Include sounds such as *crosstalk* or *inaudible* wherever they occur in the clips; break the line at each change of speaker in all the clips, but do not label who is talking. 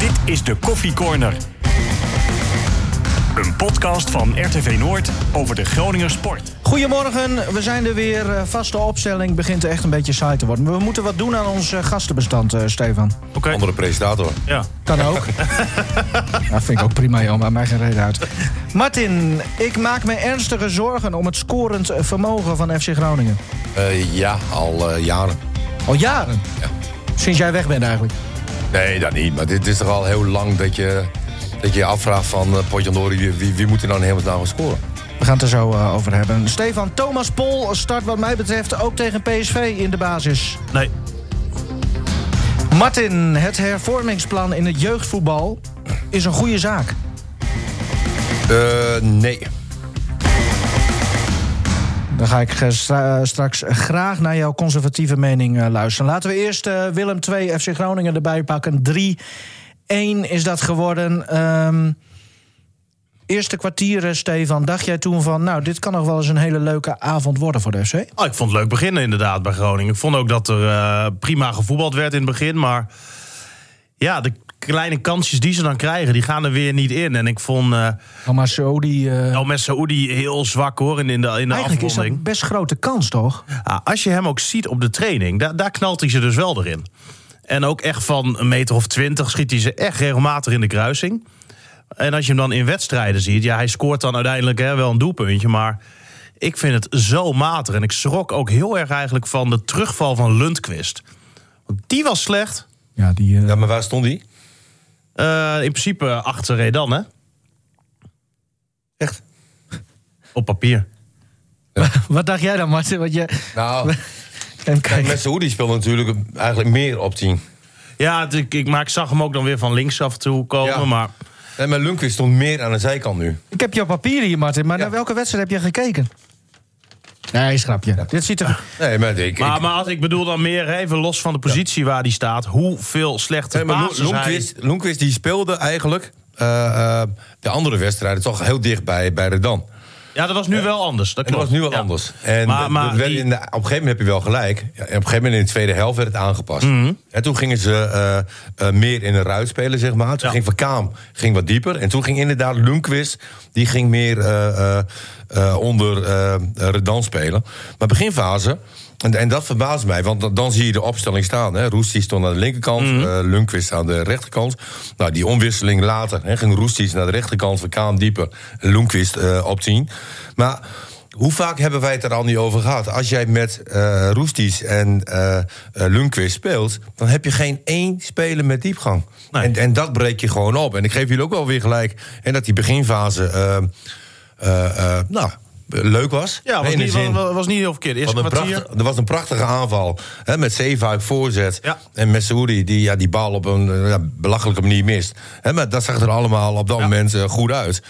Dit is de Koffie Corner. Een podcast van RTV Noord over de Groninger sport.
Goedemorgen, we zijn er weer. Eh, Vaste opstelling begint echt een beetje saai te worden. We moeten wat doen aan ons eh, gastenbestand, eh, Stefan.
Oké,
Andere presentator.
ja.
Kan ook. Dat vind ik ook prima, joh. Maakt mij geen reden uit. Martin, ik maak me ernstige zorgen om het scorend eh, vermogen van FC Groningen.
Eh, ja, al eh, jaren.
Al jaren.
Ja.
Sinds jij weg bent eigenlijk.
Nee, dat niet. Maar dit is toch al heel lang dat je dat je, je afvraagt van eh Potjandori, wie- wie, wie moet er nou in hemelsnaam gaan scoren?
We gaan het er zo eh, over hebben. Stefan, Thomas Pol start wat mij betreft ook tegen PSV in de basis.
Nee,
Martin, het hervormingsplan in het jeugdvoetbal is een goede zaak.
Eh, nee.
Dan ga ik eh, stra- eh, straks graag naar jouw conservatieve mening eh, luisteren. Laten we eerst eh, Willem 2 FC Groningen erbij pakken. 3-1 is dat geworden. Ehm, eerste kwartier, eh, Stefan, dacht jij toen van... nou, dit kan nog wel eens een hele leuke avond worden voor de FC?
Ah, ik vond het leuk beginnen inderdaad bij Groningen. Ik vond ook dat er eh, prima gevoetbald werd in het begin. Maar ja, de kleine kansjes die ze dan krijgen, die gaan er weer niet in. En ik vond eh
Maar zo die...
El Saoudi heel zwak hoor in, in de, in de
eh, Eigenlijk is dat
afronding.
een best grote kans, toch?
Ah, als je hem ook ziet op de training, da daar knalt hij ze dus wel erin. En ook echt van een meter of twintig schiet hij ze echt regelmatig in de kruising. En als je hem dan in wedstrijden ziet, ja, hij scoort dan uiteindelijk hè, wel een doelpuntje, maar ik vind het zo matig. En ik schrok ook heel erg eigenlijk van de terugval van Lundqvist. Want die was slecht.
Ja, die...
Ja, maar waar stond die?
Eh, in principe achter Redan, hè?
Echt?
Op papier.
*laughs* Wat dacht jij dan, Martin? Want je...
Nou,
En
*laughs* kijk,
kijk,
met Saoedi speelt natuurlijk eigenlijk meer op 10.
Ja, het- ik, ik, maar ik zag hem ook dan weer van links af en toe komen.
Ja.
Maar
En mijn Lundqvist stond meer aan de zijkant nu.
ik heb jouw papieren hier, Martin. Maar
Ja.
naar welke wedstrijd heb je gekeken? Nee, schrapje. Dit ziet er...
Nee, maar ik...
Maar,
ik
maar als, ik bedoel dan meer even los van de positie waar die staat. Hoeveel slechte
nee, maar Lo-
basis hij...
Lundqvist, Lundqvist die speelde eigenlijk eh, eh, de andere wedstrijden toch heel dicht bij, bij Redan.
Ja, dat was nu wel anders. Dat
Het was
klopt.
nu wel
Ja.
anders. En
maar
dat-
maar
dat werd
die-
in de- op een gegeven moment heb je wel gelijk. Ja, en op een gegeven moment in de tweede helft werd het aangepast.
Mhm.
En toen gingen ze eh, eh, meer in de ruit spelen, zeg maar. Toen
Ja.
ging Van Kaam ging wat dieper. En toen ging inderdaad Lundqvist, die ging meer eh, eh, eh, onder eh Redan spelen. Maar beginfase, en, en dat verbaast mij, want dan- dan zie je de opstelling staan. hè. Roesties stond aan de linkerkant,
Mhm.
eh Lundqvist aan de rechterkant. Nou, die omwisseling later hè, ging Roesties naar de rechterkant, Van Kaam dieper, Lundqvist eh, op 10. Maar hoe vaak hebben wij het er al niet over gehad? Als jij met eh Roesties en eh eh, Lundqvist speelt... dan heb je geen één speler met diepgang.
Nee.
En, en dat breek je gewoon op. En ik geef jullie ook wel weer gelijk... en dat die beginfase eh, eh, eh, nou, leuk was.
Ja, was
In de
niet,
zin-
was, was niet heel verkeerd. Eerste
wat een
kwartier.
prachtig- er was een prachtige aanval. Hè, met Zeefuik voorzet.
Ja.
En met Saoedi die ja, die bal op een eh, ja, belachelijke manier mist. Hè, maar dat zag er allemaal op dat moment eh, goed uit.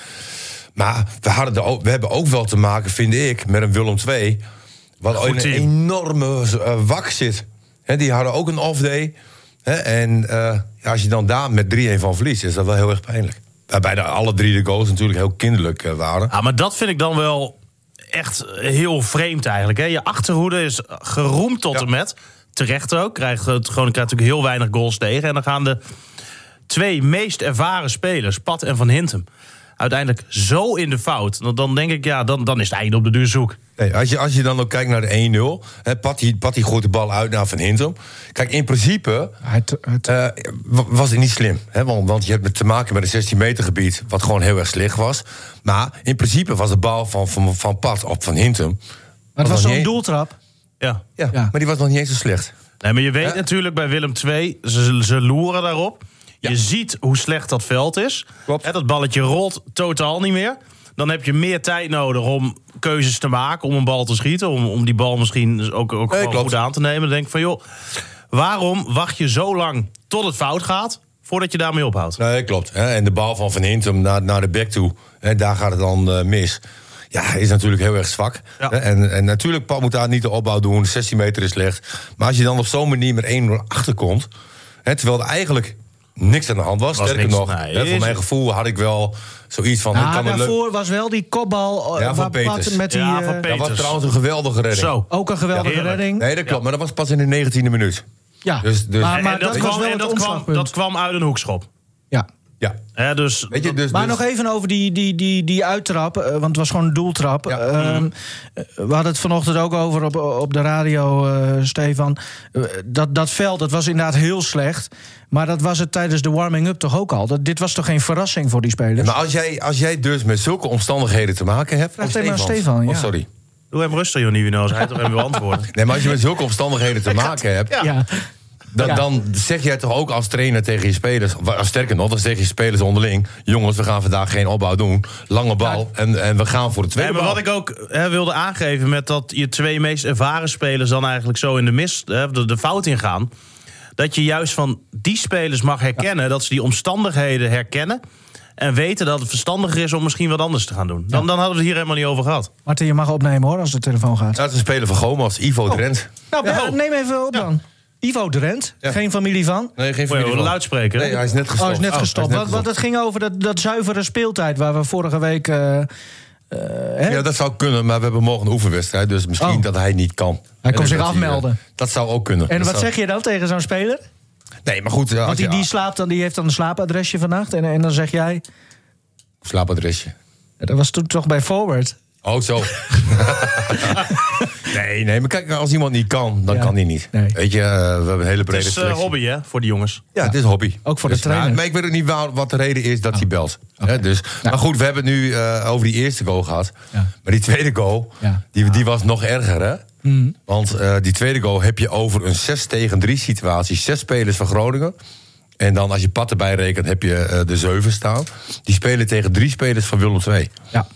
Maar we, hadden de, we hebben ook wel te maken, vind ik, met een Willem II. Wat
Goed
in een
team.
enorme eh, wak zit. Hè, die hadden ook een off-day. Hè, en eh, ja, als je dan daar met 3-1 van verliest, is dat wel heel erg pijnlijk. Waarbij de, alle drie de goals natuurlijk heel kinderlijk eh, waren.
Ja, Ah, maar dat vind ik dan wel echt heel vreemd eigenlijk. Hè? Je achterhoede is geroemd tot
Ja.
en met. Terecht ook. Krijgt, het- Groningen krijgt natuurlijk heel weinig goals tegen. En dan gaan de twee meest ervaren spelers, Pat en Van Hintem... uiteindelijk zo in de fout. Dan- Dan denk ik, ja, dan, dan is het einde op de duur zoek.
Nee, als, je, als je dan ook kijkt naar de 1-0, hè, Patty, Patty gooit de bal uit naar Van Hintem. Kijk, in principe
Het, het,
eh, wa- was het niet slim. Hè, want, want je hebt te maken met een 16-meter gebied, wat gewoon heel erg slecht was. Maar in principe was de bal van, van, van Pat op Van Hintem.
maar het was
nog
zo'n
niet-
doeltrap.
Ja.
Ja,
Ja.
maar die was nog niet eens zo slecht.
Nee, maar je weet
Ja.
natuurlijk bij Willem II, ze, ze loeren daarop.
Ja.
Je ziet hoe slecht dat veld is.
Klopt.
Hè, dat balletje rolt totaal niet meer. Dan heb je meer tijd nodig om keuzes te maken, om een bal te schieten. Om, om die bal misschien dus ook, ook
Nee,
gewoon
klopt.
goed aan te nemen. Dan denk ik van, joh, waarom wacht je zo lang tot het fout gaat, voordat je daarmee ophoudt?
Nee, klopt. Hè, en de bal van Van Hintem naar, naar de back toe, hè, daar gaat het dan eh, mis. Ja, is natuurlijk heel erg zwak.
Ja.
Hè, En, en natuurlijk, Pat moet daar niet de opbouw doen. 16 meter is slecht. Maar als je dan op zo'n manier met 1-0 achterkomt... Hè, terwijl er eigenlijk niks aan de hand was.
Was
sterker
niks.
nog,
Nee,
hè,
is-
voor mijn gevoel had ik wel zoiets van... hoe
Ah,
kan het leuk-
daarvoor was wel die kopbal eh,
Ja, van
waar Pat
Peters.
met die,
Ja,
eh,
van Peters.
Dat was trouwens een geweldige redding.
Zo.
ook een geweldige
Ja, heerlijk.
redding.
Nee, dat klopt. Maar dat was pas in de 19e minuut.
Ja,
Dus- dus-
maar,
En-
maar
en
dat,
dat,
was
kwam,
wel
en
het
dat, kwam,
omslagpunt.
dat kwam uit een hoekschop.
ja.
Ja.
Hè, dus
Weet je, dus,
Maar
dus-
nog even over die, die, die, die uittrap, eh, want het was gewoon een doeltrap.
Ja.
Ehm,
Mhm.
eh, we hadden het vanochtend ook over op, op de radio, eh, Stefan. Eh, dat, dat veld, dat was inderdaad heel slecht. Maar dat was het tijdens de warming-up toch ook al? Dat, dit was toch geen verrassing voor die spelers?
Maar als jij, als jij dus met zulke omstandigheden te maken hebt.
Vraag
Oh,
het maar aan Stefan,
Oh,
ja.
sorry.
doe hem rustig, joh, Nivino. Hij toch even beantwoord.
Nee, maar als je met zulke omstandigheden te maken hebt.
ja.
Dan,
Ja.
dan zeg jij toch ook als trainer tegen je spelers. wa- Sterker nog, dan zeg je spelers onderling. Jongens, we gaan vandaag geen opbouw doen. Lange bal. En, en we gaan voor de tweede
Nee, maar
bal.
wat ik ook hè, wilde aangeven met dat je twee meest ervaren spelers dan eigenlijk zo in de mis, hè, de, de fout ingaan. Dat je juist van die spelers mag herkennen, dat ze die omstandigheden herkennen. En weten dat het verstandiger is om misschien wat anders te gaan doen. Dan, dan hadden we het hier helemaal niet over gehad.
Martin, je mag opnemen hoor, als de telefoon gaat.
Dat is een speler van Gomas, Ivo Drent.
Nou,
Ja.
neem even op dan. Ivo Drent,
Ja.
geen familie van.
Nee, geen
Voor
familie
jou,
van.
luidspreker.
Nee, hij is net gestopt.
Oh, is net gestopt.
hij is
Want, want het ging over dat, dat zuivere speeltijd waar we vorige week... eh, eh, hè?
Ja, dat zou kunnen, maar we hebben morgen een oefenwedstrijd. Dus misschien
Oh.
dat hij niet kan.
Hij
En
kon zich
dat eh,
afmelden.
dat zou ook kunnen.
en
Dat
wat
zou-
zeg je dan tegen zo'n speler?
Nee, maar goed. eh, als
Want die,
je-
die, slaapt dan, die heeft dan een slaapadresje vannacht. En, en dan zeg jij.
Slaapadresje.
Dat was toen toch bij Forward? *laughs*
Oh, zo. nee, nee, maar kijk, als iemand niet kan, dan
Ja.
kan hij niet.
Nee.
Weet je, eh, we hebben een hele brede
Het is eh,
selectie.
hobby, hè, voor die jongens.
Ja, het is hobby.
Ook voor de
Dus, nou,
trainer. Ah.
maar ik weet ook niet waar, wat de reden is dat hij belt. Hè, dus, Maar goed, we hebben het nu eh, over die eerste goal gehad.
Ja.
Maar die tweede goal,
Ja. Mm.
die, die was nog erger, hè? Want eh, die tweede goal heb je over een 6 tegen 3 situatie. Zes spelers van Groningen. En dan als je pad erbij rekent, heb je eh, de zeven staan. Die spelen tegen drie spelers van Willem II.
Ja.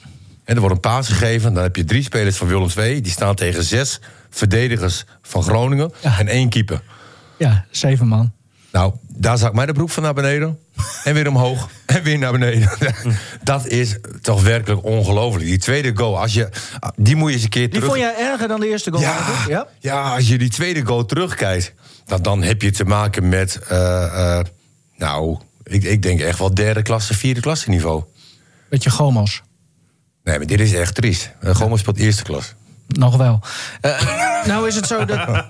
En er wordt een paas gegeven. Dan heb je drie spelers van Willem II. Die staan tegen zes verdedigers van Groningen.
Ja.
En één keeper.
Ja, zeven man.
Nou, daar zak mij de broek van naar beneden. En weer omhoog. En weer naar beneden. *laughs* Dat is toch werkelijk ongelooflijk. Die tweede goal, als je, die moet je eens een keer
Die
terug...
vond jij erger dan de eerste goal?
ja,
eigenlijk?
ja?
ja?
als je die tweede goal terugkijkt... Dan, dan heb je te maken met... eh, eh, nou, ik, ik denk echt wel derde klasse, vierde klasse niveau.
Beetje gomos.
Nee, maar dit is echt triest. Eh, Gomez speelt eerste klas.
Nog wel. Eh, nou is het zo dat.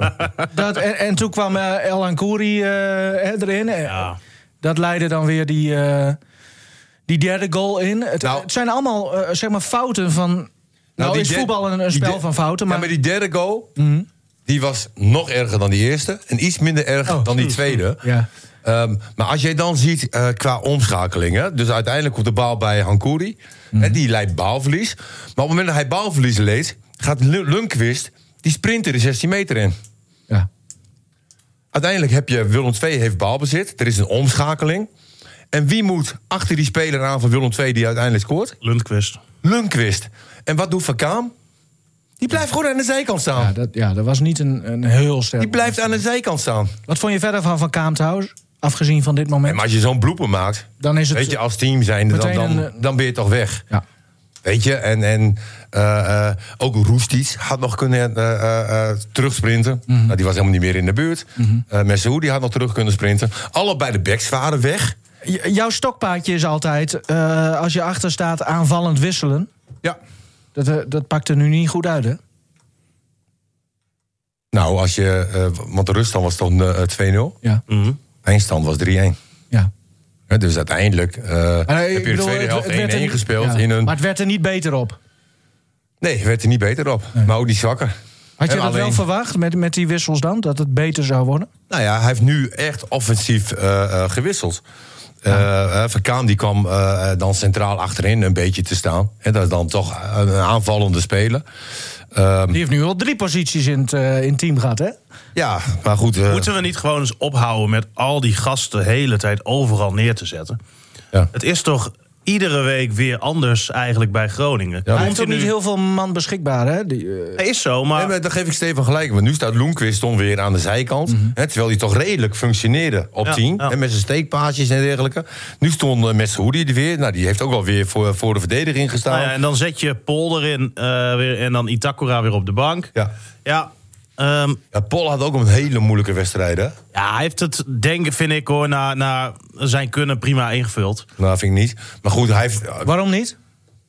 dat en, en toen kwam eh, El Ankouri eh, erin. Eh,
Ja.
Dat leidde dan weer die, eh, die derde goal in. Het,
Nou.
het zijn allemaal eh, zeg maar fouten van. Nou,
die
is
der-
voetbal een, een
die
spel
der-
van fouten.
Ja,
Maar, Mhm.
maar die derde goal, die was nog erger dan die eerste. En iets minder erg
Oh.
dan die tweede.
Ja.
Ehm, maar als jij dan ziet eh, qua omschakelingen... dus uiteindelijk komt de bal bij Hankouri.
Mhm.
En die leidt baalverlies. Maar op het moment dat hij baalverlies leed... gaat Lu- Lundqvist, die sprinter de 16 meter in.
ja.
Uiteindelijk heb je Willem II heeft balbezit. Er is een omschakeling. En wie moet achter die speler aan van Willem II die uiteindelijk scoort?
Lundqvist.
Lundqvist. En wat doet Van Kaam? Die blijft gewoon aan de zijkant staan.
Ja, dat, ja, dat was niet een, een heel sterk.
Die blijft aan de zijkant staan.
Wat vond je verder van Van Kaamthuis? Afgezien van dit moment.
En maar als je zo'n blooper maakt,
Dan is het-
weet je, als team zijn, dan,
Meteen
dan,
een, eh,
dan ben je toch weg.
Ja.
Weet je, en, en eh, eh, ook Roestic had nog kunnen eh, eh, eh, terugsprinten.
Mhm.
Nou, die was helemaal niet meer in de buurt. Eh Messehoedi had nog terug kunnen sprinten. Allebei de backs waren weg.
J- jouw stokpaardje is altijd, eh, als je achter staat, aanvallend wisselen.
Ja.
Dat, eh, dat pakt er nu niet goed uit, hè?
Nou, als je, eh, want de ruststand was toch eh, 2-0.
Ja.
Eindstand was 3-1.
ja.
Hè, Dus uiteindelijk eh, heb je de tweede helft 1-1 gespeeld in een
Maar het werd er niet beter op.
Nee, werd er niet beter op. Maar ook niet zwakker.
Had je
En
dat wel
alleen-
verwacht met, met die wissels dan? Dat het beter zou worden?
Nou ja, hij heeft nu echt offensief eh, eh, gewisseld. Eh eh, Van Kaam die kwam eh, eh, dan centraal achterin een beetje te staan. En dat is dan toch een aanvallende speler. Ehm,
Die heeft nu al drie posities in het, eh, in het team gehad, hè?
ja, maar goed. eh,
Moeten we niet gewoon eens ophouden met al die gasten de hele tijd overal neer te zetten?
ja.
Het is toch iedere week weer anders eigenlijk bij Groningen.
Hij heeft ook
Continu-
niet heel veel man beschikbaar, hè? Die, eh,
Nee, is zo, maar...
Nee, maar dan geef ik Steven gelijk. Want nu staat Loenquist dan weer aan de zijkant. hè, terwijl hij toch redelijk functioneerde op
Mhm. Ja,
10.
ja.
hè, met zijn steekpaasjes en dergelijke. Nu stond uh, Messehoedi er weer. Nou, die heeft ook alweer voor, voor de verdediging gestaan.
Nou ja, en dan zet je Pol erin eh, weer, en dan Itakura weer op de bank.
Ja.
Ja, ehm,
Ja, Pol had ook een hele moeilijke wedstrijd, hè?
ja, hij heeft het, denk, vind ik hoor, na, na zijn kunnen prima ingevuld.
Nou, vind ik niet. Maar goed, hij heeft...
waarom niet?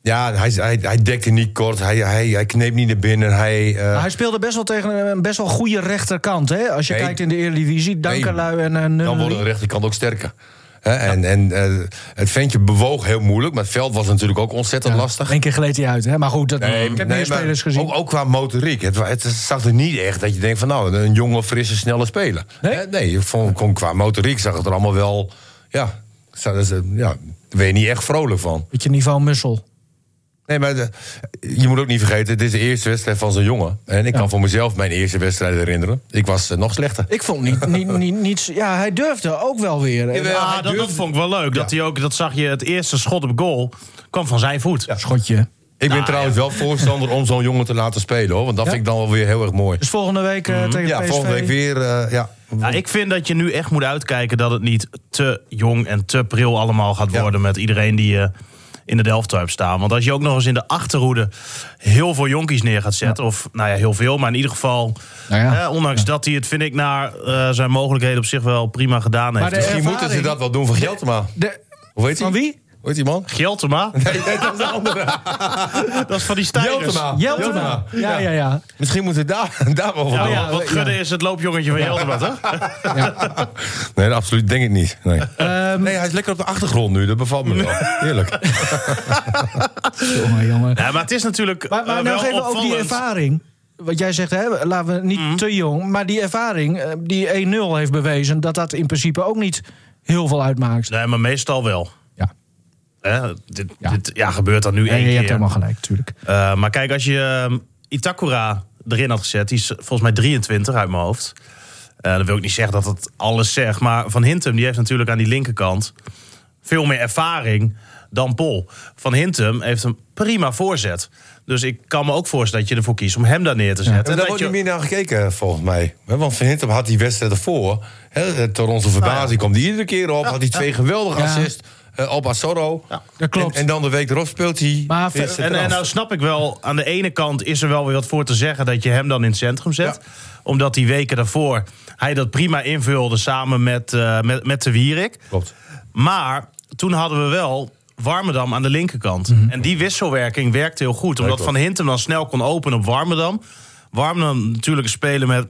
Ja, hij, hij, hij dekte niet kort, hij, hij, hij kneep niet naar binnen. Hij,
Ah,
eh,
Maar hij speelde best wel tegen een best wel goede rechterkant. Hè? Als je
Nee.
kijkt in de Eredivisie, Dankerlui en eh
dan
Nunnely.
wordt de rechterkant ook sterker. Hè, En, en eh, het ventje bewoog heel moeilijk, maar het veld was natuurlijk ook ontzettend lastig.
Eén keer gleed hij uit, hè? maar goed, dat, ik heb
nee,
meer
maar
spelers gezien.
Ook, ook qua motoriek. Het, wa- het zag er niet echt dat je denkt van nou, een jonge, frisse, snelle speler.
Nee?
Eh, nee je vond, kon, qua motoriek zag het er allemaal wel. Ja, za- ze- ja, daar ben je niet echt vrolijk van.
Beetje niveau Mussel.
Nee, maar de- je moet ook niet vergeten, dit is de eerste wedstrijd van zo'n jongen. En ik kan voor mezelf mijn eerste wedstrijd herinneren. Ik was eh, nog slechter.
Ik vond niet, *laughs* niet, niet, niets. Ja, hij durfde ook wel weer.
Jawel.
Ja,
hij
Ah, dat, dat
durfde-
vond ik wel leuk. Dat, hij ook, dat zag je, het eerste schot op goal kwam van zijn voet.
Schotje.
Ik ben trouwens wel voorstander om zo'n jongen te laten spelen hoor. Want dat
Nou, Ja?
vind ik dan wel weer heel erg mooi.
Dus volgende week eh, tegen
Mhm. Ja,
PSV.
volgende week weer. eh, ja.
Ja, Nou, ik vind dat je nu echt moet uitkijken dat het niet te jong en te pril allemaal gaat
Ja.
worden met iedereen die eh, in de Delfttuip staan. Want als je ook nog eens in de achterhoede heel veel jonkies neer gaat zetten, of nou ja, heel veel, maar in ieder geval,
Nou ja.
eh, ondanks dat hij het, vind ik, naar eh, zijn mogelijkheden op zich wel prima gedaan heeft.
de-
Misschien moeten ze
ervaring-
dat wel doen voor Geltema.
De,
Hoe heet
van
hij?
wie?
Hoe heet die man?
*laughs*
Geltema,
Nee, nee, dat is de andere.
*laughs* dat is van die stijgers.
Jeltema.
Jeltema. Ah, Ja, ja, ja.
Misschien moeten we daar, *laughs* daar wel voor
Ja,
doen.
Oh, ja,
wat
ja.
gudde is het loopjongetje van
*laughs*
Jeltema, toch?
Nee, dat absoluut denk ik niet. Nee.
Ehm,
nee, hij is lekker op de achtergrond nu. Dat bevalt me wel. Heerlijk.
Jongen, jongen.
Ja, maar het is natuurlijk
Maar, maar
eh,
nog
wel
even over die
opvallend.
ervaring. Wat jij zegt, hè, laten we niet
Mhm.
te jong. Maar die ervaring, eh, die 1-0 heeft bewezen... dat dat in principe ook niet heel veel uitmaakt.
Nee, maar meestal wel.
Ja,
Hè, dit,
Ja.
Dit, ja, gebeurt dat nu
en
één
je
keer.
hebt helemaal gelijk, natuurlijk.
Eh, maar kijk, als je ehm, Itakura erin had gezet, die is volgens mij 23 uit mijn hoofd. Eh dat wil ik niet zeggen dat dat alles zegt. Maar Van Hintem, die heeft natuurlijk aan die linkerkant veel meer ervaring dan Pol. Van Hintem heeft een prima voorzet. Dus ik kan me ook voorstellen dat je ervoor kiest om hem daar neer te zetten.
En daar
En dat
wordt
je-
niet meer naar gekeken, volgens mij. Hè, Want Van Hintem had die wedstrijd ervoor. Hè, tot onze verbazing kwam die iedere keer op. Had hij twee geweldige
Oh, Ja.
assists eh, op Asoro.
Dat klopt.
En, en dan de week erop speelt hij...
Maar ver-
is het
En, en
eraf.
nou snap ik wel, aan de ene kant is er wel weer wat voor te zeggen dat je hem dan in het centrum zet. Omdat die weken daarvoor hij dat prima invulde samen met, eh, met, met de Wierik.
Klopt.
Maar toen hadden we wel Warmerdam aan de linkerkant. En die wisselwerking werkte heel goed. Omdat
Mhm. klopt.
Van Hintem dan snel kon openen op Warmerdam. Warmerdam natuurlijk een speler met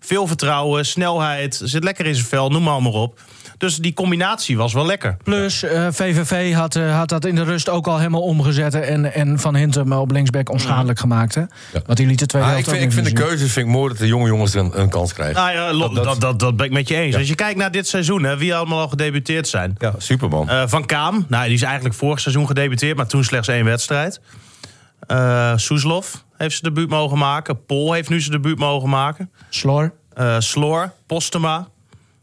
veel vertrouwen, snelheid. Zit lekker in zijn vel, noem maar allemaal op. Dus die combinatie was wel lekker.
Plus, eh, VVV had, eh, had dat in de rust ook al helemaal omgezet. En, en Van Hintem eh, op linksback onschadelijk gemaakt. Hè? Want die liet de tweede
Maar Mhm. Ah,
helft
ik vind,
ook
ik vind de
niet meer
keuzes vind ik mooi dat de jonge jongens een, een kans krijgen.
Nou ja, lo- dat, dat, dat, ben ik met je eens. Als je kijkt naar dit seizoen, hè, wie allemaal al gedebuteerd zijn.
Ja, superman.
Eh, van Kaam, nou, die is eigenlijk vorig seizoen gedebuteerd, maar toen slechts één wedstrijd. Eh Soeslof heeft zijn debuut mogen maken. Pol heeft nu zijn debuut mogen maken.
zien. Slor.
Eh, Sloor, Postema.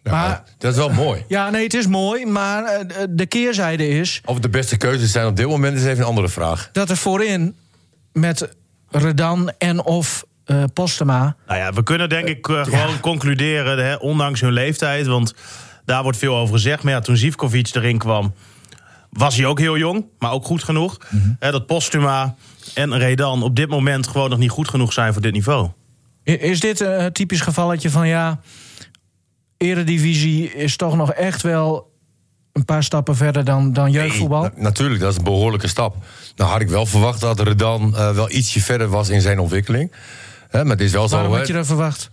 Ja,
maar-
dat is wel mooi.
Ja, nee, het is mooi. Maar eh, de- de keerzijde is
Of het de beste keuzes zijn op dit moment is even een andere vraag.
dat er voorin met Redan en of eh, Postema...
Nou ja, we kunnen denk ik eh, gewoon concluderen, hè, ondanks hun leeftijd. Want daar wordt veel over gezegd. Maar ja, toen Zivkovic erin kwam, was hij ook heel jong. Maar ook goed genoeg.
Mhm.
Hè, dat Postuma en Redan op dit moment gewoon nog niet goed genoeg zijn voor dit niveau.
I- Is dit een eh, typisch gevalletje van ja, eredivisie is toch nog echt wel een paar stappen verder dan, dan jeugdvoetbal?
Na- natuurlijk, dat is een behoorlijke stap. Nou had ik wel verwacht dat Redan eh, wel ietsje verder was in zijn ontwikkeling. Hè, maar het is wel
Waarom
zo.
had je
hè.
dat verwacht?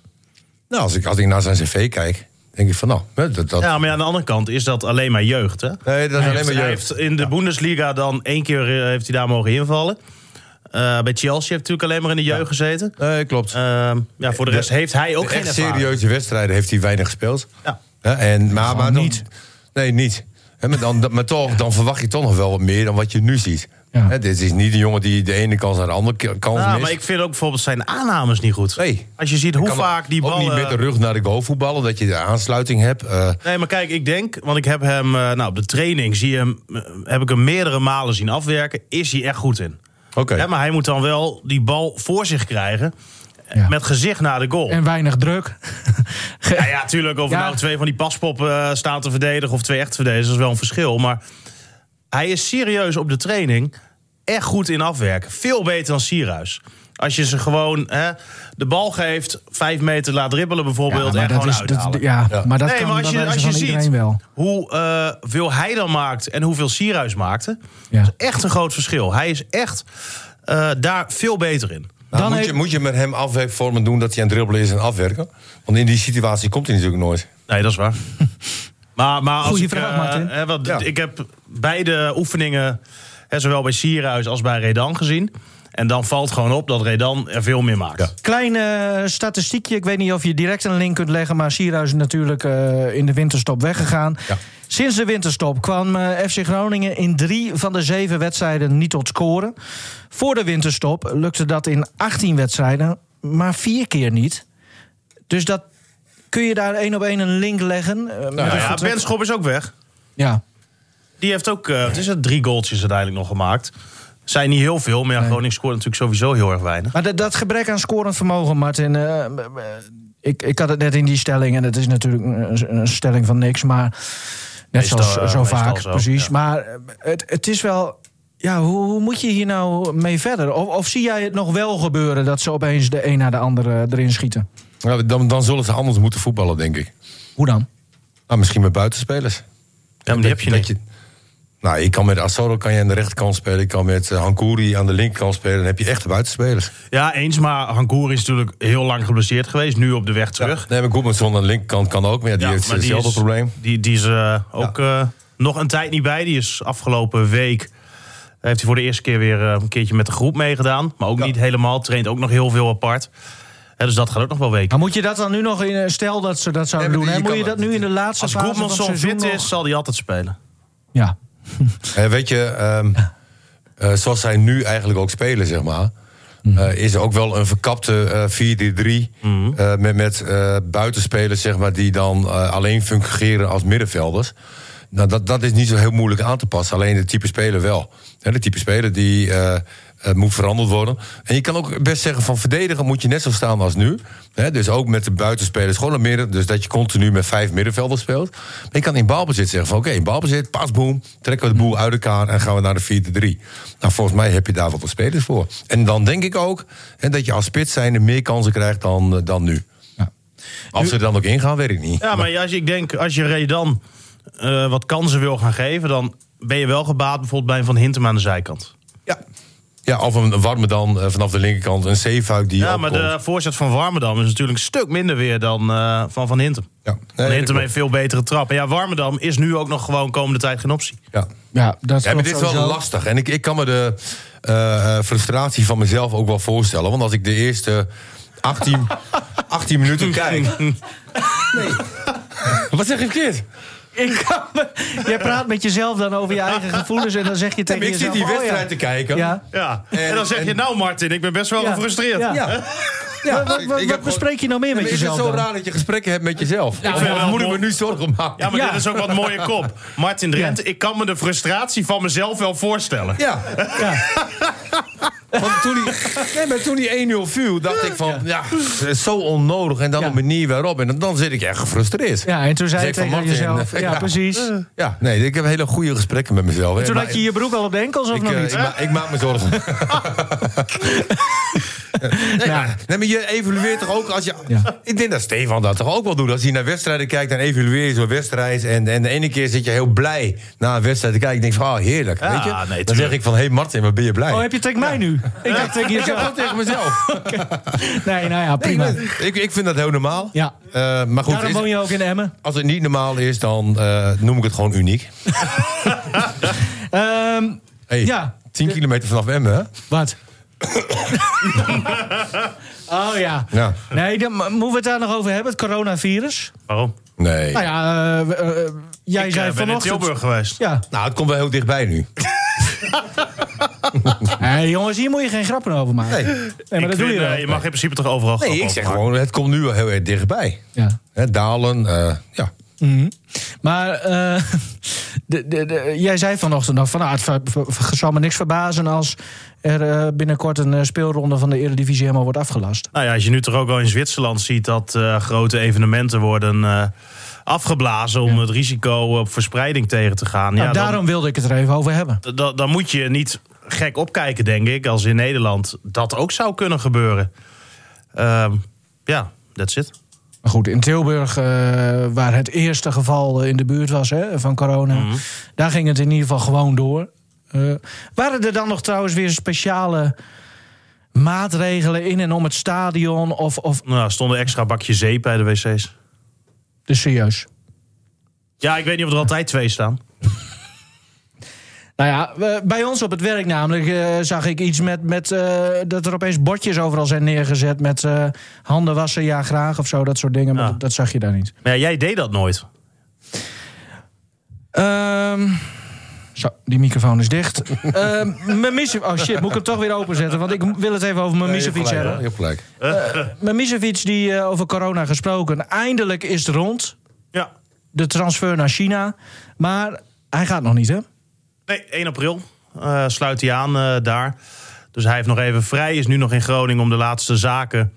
Nou, als, ik, als ik naar zijn cv kijk, denk ik van nou, hè, dat, dat,
Ja, maar ja, aan de andere kant is dat alleen maar jeugd. Hè?
nee, dat is alleen
Hij
maar
heeft-
jeugd.
Hij heeft in de Bundesliga dan één keer eh, heeft hij daar mogen invallen. Eh, bij Chelsea heeft hij natuurlijk alleen maar in de jeugd gezeten.
Nee, klopt.
Ehm, ja, voor de rest heeft hij ook
De
geen
Eh, echt
ervaring.
serieuze wedstrijden heeft hij weinig gespeeld.
Ja.
Hè, en, maar, maar dan-
niet.
Nee, niet. Hè, maar, dan, maar toch, dan verwacht je toch nog wel wat meer dan wat je nu ziet.
Ja.
Hè, dit is niet de jongen die de ene kans naar de andere ke- kans
Ja,
mist.
Nou, maar ik vind ook bijvoorbeeld zijn aannames niet goed.
Nee.
Als je ziet hoe
Kan
vaak die eh,
Ook niet met de
ballen...
rug naar de goal voetballen, dat je de aansluiting hebt. Eh,
Nee, maar kijk, ik denk, want ik heb hem eh, nou, op de training zie je hem, eh, heb ik hem meerdere malen zien afwerken. Is hij echt goed in?
Oké.
Ja, maar hij moet dan wel die bal voor zich krijgen. eh,
Ja.
Met gezicht naar de goal.
En weinig druk. *laughs* Ge-
Ja, ja, tuurlijk. Of
Ja.
nou twee van die paspoppen eh, staan te verdedigen of twee echt te verdedigen, dat is wel een verschil. Maar hij is serieus op de training echt goed in afwerken. Veel beter dan Sierhuis. Als je ze gewoon hè, de bal geeft, vijf meter laat dribbelen bijvoorbeeld. en
dat
gewoon
is, dat-
uithalen.
ja, maar dat
nee,
kan
maar als
bij
je,
wijze
als je
van
ziet
iedereen wel.
hoe eh, veel hij dan maakt en hoeveel Sierhuis maakte.
Ja.
Dat is echt een groot verschil. Hij is echt eh, daar veel beter in.
Nou,
Dan
moet,
heeft-
je, moet je met hem afwerkvormen doen dat hij aan het dribbelen is en afwerken? Want in die situatie komt hij natuurlijk nooit.
Nee, dat is waar. maar, maar als
Goeie
ik,
vraag,
eh,
Martin.
hè, want
Ja.
Ik heb beide oefeningen, hè, zowel bij Sierhuis als bij Redan gezien. En dan valt gewoon op dat Redan er veel meer maakt.
Ja.
Klein eh, statistiekje. Ik weet niet of je direct een link kunt leggen. Maar Sierhuis is natuurlijk eh, in de winterstop weggegaan.
Ja.
Sinds de winterstop kwam eh, FC Groningen in drie van de zeven wedstrijden niet tot scoren. Voor de winterstop lukte dat in 18 wedstrijden, maar vier keer niet. Dus dat kun je daar één op één een link leggen. eh, met
Nou
het
ja,
vertrek-
Ben Schop is ook weg.
ja.
Die heeft ook eh, wat is het, drie goaltjes uiteindelijk nog gemaakt. Zijn niet heel veel, maar ja, Groningen scoort natuurlijk sowieso heel erg weinig.
Maar dat, dat gebrek aan scorend vermogen, Martin. eh, b- b- ik, ik had het net in die stelling, en het is natuurlijk een, een stelling van niks, maar net
Meestal,
zoals
eh,
zo
meestal
vaak,
zo,
precies.
ja.
Maar eh, het, het is wel. Ja, hoe, hoe moet je hier nou mee verder? Of, of zie jij het nog wel gebeuren dat ze opeens de een na de andere erin schieten?
Nou, dan, dan zullen ze anders moeten voetballen, denk ik.
Hoe dan?
Nou, misschien met buitenspelers.
Ja, maar die heb je
Dat
niet.
nou, je kan met Assoro kan je aan de rechterkant spelen. Je kan met eh, Hankouri aan de linkerkant spelen. Dan heb je echte buitenspelers.
Ja, eens, maar Hankoer is natuurlijk heel lang geblesseerd geweest. Nu op de weg terug.
Nee, maar Goedmanson aan de linkerkant kan ook. Maar ja, die
Ja,
heeft
maar die eh,
hetzelfde
is-
probleem.
Die, die is eh, ook eh, nog een tijd niet bij. Die is afgelopen week. eh, Heeft hij voor de eerste keer weer eh, een keertje met de groep meegedaan. Maar ook niet helemaal. Traint ook nog heel veel apart. Hè, dus dat gaat ook nog wel weken.
Maar moet je dat dan nu nog in, eh, stel dat ze dat zouden
Nee, maar
doen,
die-
hè?
je
moet je
kan-
dat nu in de laatste
Als
fase van het
Goedmanson
seizoen
fit
nog-
is, zal hij altijd spelen.
Ja.
Eh, weet je, ehm, eh, zoals zij nu eigenlijk ook spelen, zeg maar. eh, is er ook wel een verkapte eh, 4-3-3. eh, met met eh, buitenspelers, zeg maar, die dan eh, alleen fungeren als middenvelders. Nou, dat, dat is niet zo heel moeilijk aan te passen. Alleen de type speler wel. Hè, de type speler die eh, eh, moet veranderd worden. En je kan ook best zeggen van verdedigen moet je net zo staan als nu. Hè, dus ook met de buitenspelers gewoon naar midden. Dus dat je continu met vijf middenvelders speelt. Maar je kan in balbezit zeggen van oké, in balbezit, pasboom. Trekken we de boel uit elkaar en gaan we naar de 4-3. Nou, volgens mij heb je daar wat de spelers voor. En dan denk ik ook hè, dat je als spits zijnde meer kansen krijgt dan, eh, dan nu. Of ze er dan ook ingaan, weet ik niet.
Ja, maar als je, ik denk, als je Redan eh, wat kansen wil gaan geven... dan ben je wel gebaat bijvoorbeeld bij een Van Hintem aan de zijkant.
Ja. Ja, of een warme dan eh, vanaf de linkerkant. Een zeefuik die
Ja, maar
opkomt.
de voorzet van Warmerdam is natuurlijk een stuk minder weer dan eh, van Van Hintem.
Ja. Nee, dat
van Hintem
klopt.
heeft veel betere trap. En ja, Warmerdam is nu ook nog gewoon komende tijd geen optie.
Ja.
Ja, dat
Ja, maar
klopt
dit is wel
sowieso.
lastig. En ik, ik kan me de eh, eh, frustratie van mezelf ook wel voorstellen. Want als ik de
*laughs*
eerste 18, 18 minuten kijk... Nee. Wat zeg ik verkeerd?
Ik kan me- Jij praat met jezelf dan over je eigen gevoelens en dan zeg je tegen
maar ik zit
jezelf...
die
oh ja.
wedstrijd te kijken.
Ja.
*laughs* Ja, en,
En-
dan zeg je,
en-
nou Martin, ik ben best wel
Ja.
gefrustreerd.
Ja.
Ja.
Wat- wat-
ik-
wat
ik heb
bespreek je nou meer
gewoon-
met
Is het
jezelf
zo
dan?
raar dat je gesprekken hebt met jezelf?
ik vind
of
wel
moet ik
mooi.
me nu zorgen maken?
Ja, maar
Ja.
dit is ook wat mooie kop. Martin Drent,
Ja.
ik kan me de frustratie van mezelf wel voorstellen.
*laughs* Ja. Want toen die, nee, maar toen die 1-0 viel, dacht ik van, ja, het is zo onnodig. En dan
Ja.
de manier waarop. En dan, dan zit ik echt gefrustreerd.
Ja, en toen zei je
Zeg van
tegen
Martin,
jezelf...
eh,
Ja,
*laughs* ja.
precies.
Ja, nee, ik heb hele goede gesprekken met mezelf.
Toen
Maar
had je je broek al op de enkels of
ik,
nog
eh,
niet?
ik, ma- ik maak me zorgen. *laughs* nee, maar- nee, maar je evalueert toch ook als je...
Ja.
Ik denk dat Stefan dat toch ook wel doet. Als hij naar wedstrijden kijkt, dan evalueer je zo'n wedstrijd. En, en de ene keer zit je heel blij naar een wedstrijd te kijken. Ik denk van, ah, heerlijk,
Ja,
weet je?
nee,
dan
tuurlijk.
zeg ik van, hé hey Martin, wat ben je blij?
Oh, heb je het tegen mij nu? Ik dacht tegen
Ik heb
jezelf.
dat
*laughs*
tegen mezelf.
Nee, nou ja, prima.
ik, ik vind dat heel normaal.
Ja.
Eh, maar goed,
Daarom
is-
woon je ook in Emmen.
als het niet normaal is, dan eh, noem ik het gewoon uniek.
Ehm,
Hey,
Ja.
10 kilometer vanaf Emmen, hè? *laughs*
wat? oh ja.
Ja.
Nee, dan mo- moeten we het daar nog over hebben, het coronavirus.
Waarom?
Nee.
Nou ja, eh, eh, eh, jij
ik eh,
zei
ben in
vanochtend...
Tilburg geweest.
*laughs* Ja.
Nou, het komt wel heel dichtbij nu.
Hé, jongens, hier moet je geen grappen over maken.
Nee.
Nee, *laughs* maar
Ik
dat doe
vind,
je wel.
eh, je mag in principe toch overal
Nee,
grap
ik
over
zeg
maken.
gewoon, het komt nu wel heel erg dichtbij.
Ja.
Hè, dalen, eh, ja.
Maar eh, *laughs* de, de, de- jij zei vanochtend nog van... Nou, het ver- ver- ver- zal me niks verbazen als er eh, binnenkort een eh, speelronde van de Eredivisie helemaal wordt afgelast.
Nou ja, als je nu toch ook al in Zwitserland ziet dat eh, grote evenementen worden eh, afgeblazen om het risico op verspreiding tegen te gaan.
Nou,
ja, dan-
daarom wilde ik het er even over hebben.
dan, dan moet je niet gek opkijken, denk ik, als in Nederland dat ook zou kunnen gebeuren. Ehm, ja, that's it.
Maar goed, in Tilburg, eh, waar het eerste geval eh, in de buurt was hè, van corona,
Mhm.
daar ging het in ieder geval gewoon door. Eh, waren er dan nog trouwens weer speciale maatregelen in en om het stadion? Of, of
Nou, er stonden extra bakje zeep bij de wc's.
dus serieus?
Ja, ik weet niet of er altijd twee staan.
Nou ja, we- bij ons op het werk namelijk eh, zag ik iets met, met eh, dat er opeens bordjes overal zijn neergezet met eh, handen wassen, ja graag of zo, dat soort dingen. Maar
Ja.
dat, dat zag je daar niet.
Maar ja, jij deed dat nooit.
Ehm, zo, die microfoon is dicht. Ehm, mijn Misev- oh shit, moet ik hem toch weer openzetten? Want ik wil het even over mijn
Nee, je hebt
Misevic
gelijk,
hebben.
hoor, je hebt gelijk.
Mijn Misevic, die eh, over corona gesproken. Eindelijk is het rond.
Ja.
De transfer naar China. Maar hij gaat nog niet, hè?
Nee, 1 april eh, sluit hij aan eh, daar. Dus hij heeft nog even vrij. Is nu nog in Groningen om de laatste zaken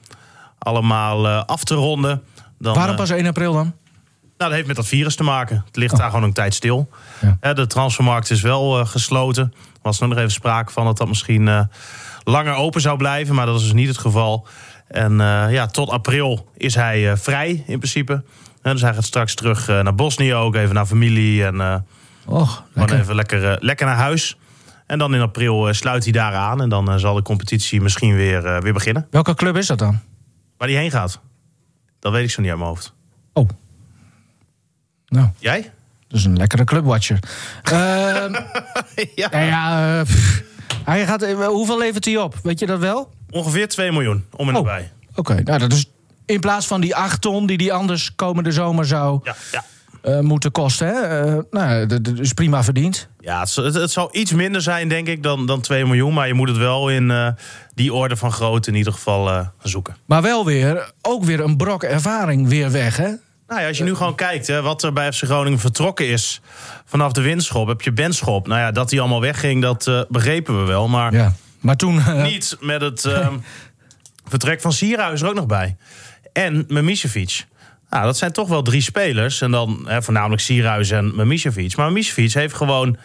allemaal eh, af te ronden. Dan,
Waarom
eh,
pas 1 april dan?
Nou, dat heeft met dat virus te maken. Het ligt daar gewoon een tijd stil.
Ja.
Hè, de transfermarkt is wel eh, gesloten. Er was nog even sprake van dat dat misschien eh, langer open zou blijven. Maar dat is dus niet het geval. En eh, ja, tot april is hij eh, vrij in principe. Hè, dus hij gaat straks terug eh, naar Bosnië ook. Even naar familie en... eh,
Och,
gewoon even lekker, eh, lekker naar huis. En dan in april eh, sluit hij daar aan. En dan eh, zal de competitie misschien weer, eh, weer beginnen.
Welke club is dat dan?
Waar hij heen gaat, dat weet ik zo niet uit mijn hoofd.
Oh. Nou,
Jij? *laughs*
dat is een lekkere clubwatcher. Ehm
ja.
nou ja, eh, pff. hij gaat, eh, hoeveel levert hij op? Weet je dat wel?
Ongeveer 2 miljoen, om en
Oh.
nabij.
Oké, nou dat is in plaats van die 8 ton die die anders komende zomer zou
Ja, ja.
eh, moeten kosten. Hè? Eh, nou, dat dat is prima verdiend.
ja het, zal- het, het zal iets minder zijn, denk ik, dan, dan 2 miljoen. Maar je moet het wel in eh, die orde van grootte in ieder geval eh, zoeken.
Maar wel weer, ook weer een brok ervaring weer weg, hè?
Nou ja, als je nu gewoon kijkt hè, wat er bij FC Groningen vertrokken is vanaf de winschop, heb je Benschop. Nou ja, dat die allemaal wegging, dat eh, begrepen we wel. Maar
Ja. Maar toen... eh,
niet met het ehm, *laughs* vertrek van Sierhuis er ook nog bij. En Memisevic. Nou, dat zijn toch wel drie spelers. En dan hè, voornamelijk Sierhuis en Memisevic. Maar Memisevic heeft gewoon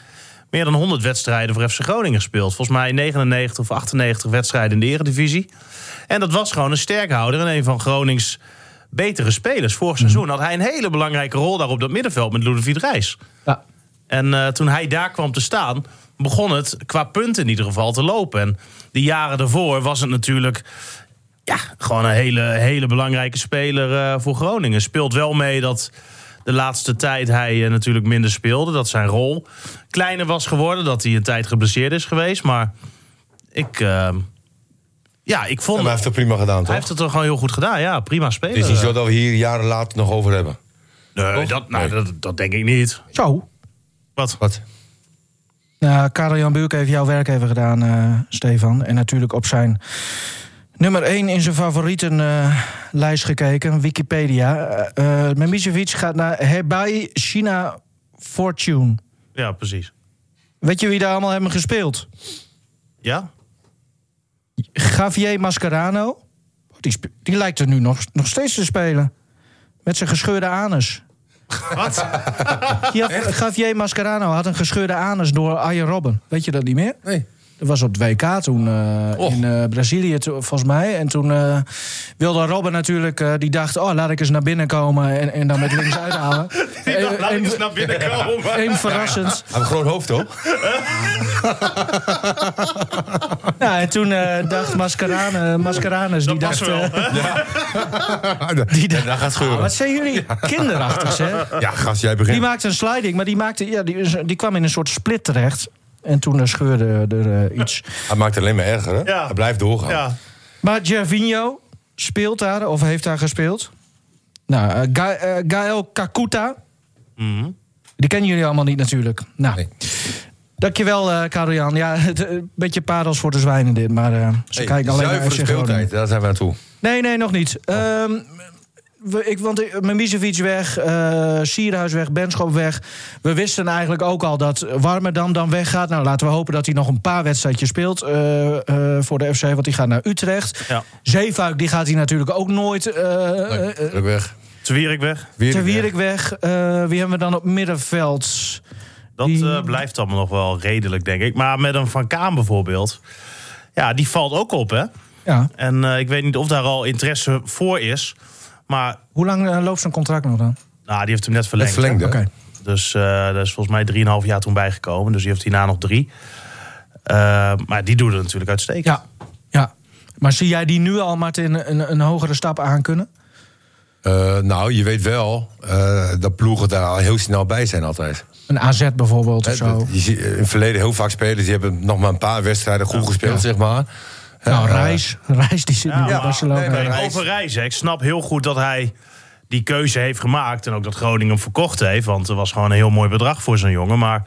meer dan 100 wedstrijden voor FC Groningen gespeeld. Volgens mij 99 of 98 wedstrijden in de Eredivisie. En dat was gewoon een sterkhouder en een van Gronings betere spelers. Vorig seizoen had hij een hele belangrijke rol daar op dat middenveld met Ludovic Reis.
ja.
En eh, toen hij daar kwam te staan, begon het qua punten in ieder geval te lopen. En de jaren daarvoor was het natuurlijk ja, gewoon een hele, hele belangrijke speler eh, voor Groningen. Speelt wel mee dat de laatste tijd hij eh, natuurlijk minder speelde. Dat zijn rol kleiner was geworden, dat hij een tijd geblesseerd is geweest. Maar ik, eh, ja, ik
Ja,
vond...
maar hij heeft het prima gedaan,
hij
toch?
heeft het er gewoon heel goed gedaan. Ja, prima speler.
Het is niet zo dat we hier jaren later nog over hebben.
nee,
toch?
dat, nou,
Nee.
dat, dat denk ik niet.
Zo.
Wat?
Wat?
Nou, Karel-Jan Buurk heeft jouw werk even gedaan, eh, Stefan. En natuurlijk op zijn nummer 1 in zijn favorietenlijst gekeken, Wikipedia. Eh eh, Memisevic gaat naar Hebei China Fortune.
Ja, precies.
Weet je wie daar allemaal hebben gespeeld?
Ja?
Javier Mascarano. Die, spe- die lijkt er nu nog, nog steeds te spelen. Met zijn gescheurde anus.
Wat?
Ja, Javier Mascarano had een gescheurde anus door Arjen Robben. Weet je dat niet meer?
Nee.
Dat was op het WK toen eh,
Och.
in eh, Brazilië, to- volgens mij. En toen eh, wilde Robben natuurlijk, eh, die dacht... oh, laat ik eens naar binnen komen en, en dan met links uithalen. Eh,
Laat ik
een-
eens naar binnen
*laughs*
komen.
een verrassend.
Hij heeft een groot hoofd,
*laughs*
toch?
Nou, en toen eh, dacht Mascarane, Mascaranus, die dacht...
past wel,
eh,
Die daar gaat
ah,
scheuren.
wat zijn jullie kinderachtig, hè?
Ja, gast, jij
Die
begint.
maakte een sliding, maar die, maakte, ja, die, is- die kwam in een soort split terecht. En toen eh, scheurde er eh, iets.
Hij maakt het alleen maar erger, hè?
Ja.
Hij blijft doorgaan.
Ja.
Maar Gervinho speelt daar, of heeft daar gespeeld. Nou, eh, Ga- eh, Gael Kakuta. Die kennen jullie allemaal niet natuurlijk. Nou,
Mhm. Nee.
dankjewel eh Karel-Jan. Ja, *laughs* het, een beetje parels voor de zwijnen dit, maar eh, ze
Hey,
kijken alleen naar
zuivere
FC Groningen.
speeltijd, daar zijn we naartoe.
Nee, nee, nog niet.
Oh.
Ehm, we, ik, want eh, Mimicevic weg, eh Sierhuis weg, Benschop weg. We wisten eigenlijk ook al dat Warmerdam dan weggaat. Nou, laten we hopen dat hij nog een paar wedstrijdjes speelt eh, eh, voor de FC. Want die gaat naar Utrecht.
Ja.
Zeefuik, die gaat hij natuurlijk ook nooit. eh, eh, eh,
Druk weg.
Te Wierik weg.
Weer
Ter Wierik weg. Eh, wie hebben we dan op middenveld?
Dat
Die-
eh, blijft allemaal nog wel redelijk, denk ik. Maar met een Van Kaan bijvoorbeeld. Ja, die valt ook op, hè?
Ja.
En eh, ik weet niet of daar al interesse voor is. Maar
Hoe lang eh, loopt zijn contract nog dan?
nou, die heeft hem net
Het
verlengd.
verlengde.
Oké.
Dus eh, daar is volgens mij 3,5 jaar toen bijgekomen. Dus die heeft hierna nog drie. Eh, maar die doet het natuurlijk uitstekend.
Ja. ja. Maar zie jij die nu al, Martin, een, een hogere stap aan kunnen?
Eh, nou, je weet wel eh, dat ploegen daar al heel snel bij zijn altijd.
Een AZ bijvoorbeeld of
Eh,
Hè,
zo.
dat- je ziet eh, in het verleden heel vaak spelers... die hebben nog maar een paar wedstrijden goed gespeeld, zeg maar.
Nou,
Eh,
Reis, Reis die zit nu in
maar-
Barcelona.
nee, nee,
Kijk, Overijs, hè, ik snap heel goed dat hij die keuze heeft gemaakt. En ook dat Groningen hem verkocht heeft. Want er was gewoon een heel mooi bedrag voor zo'n jongen. Maar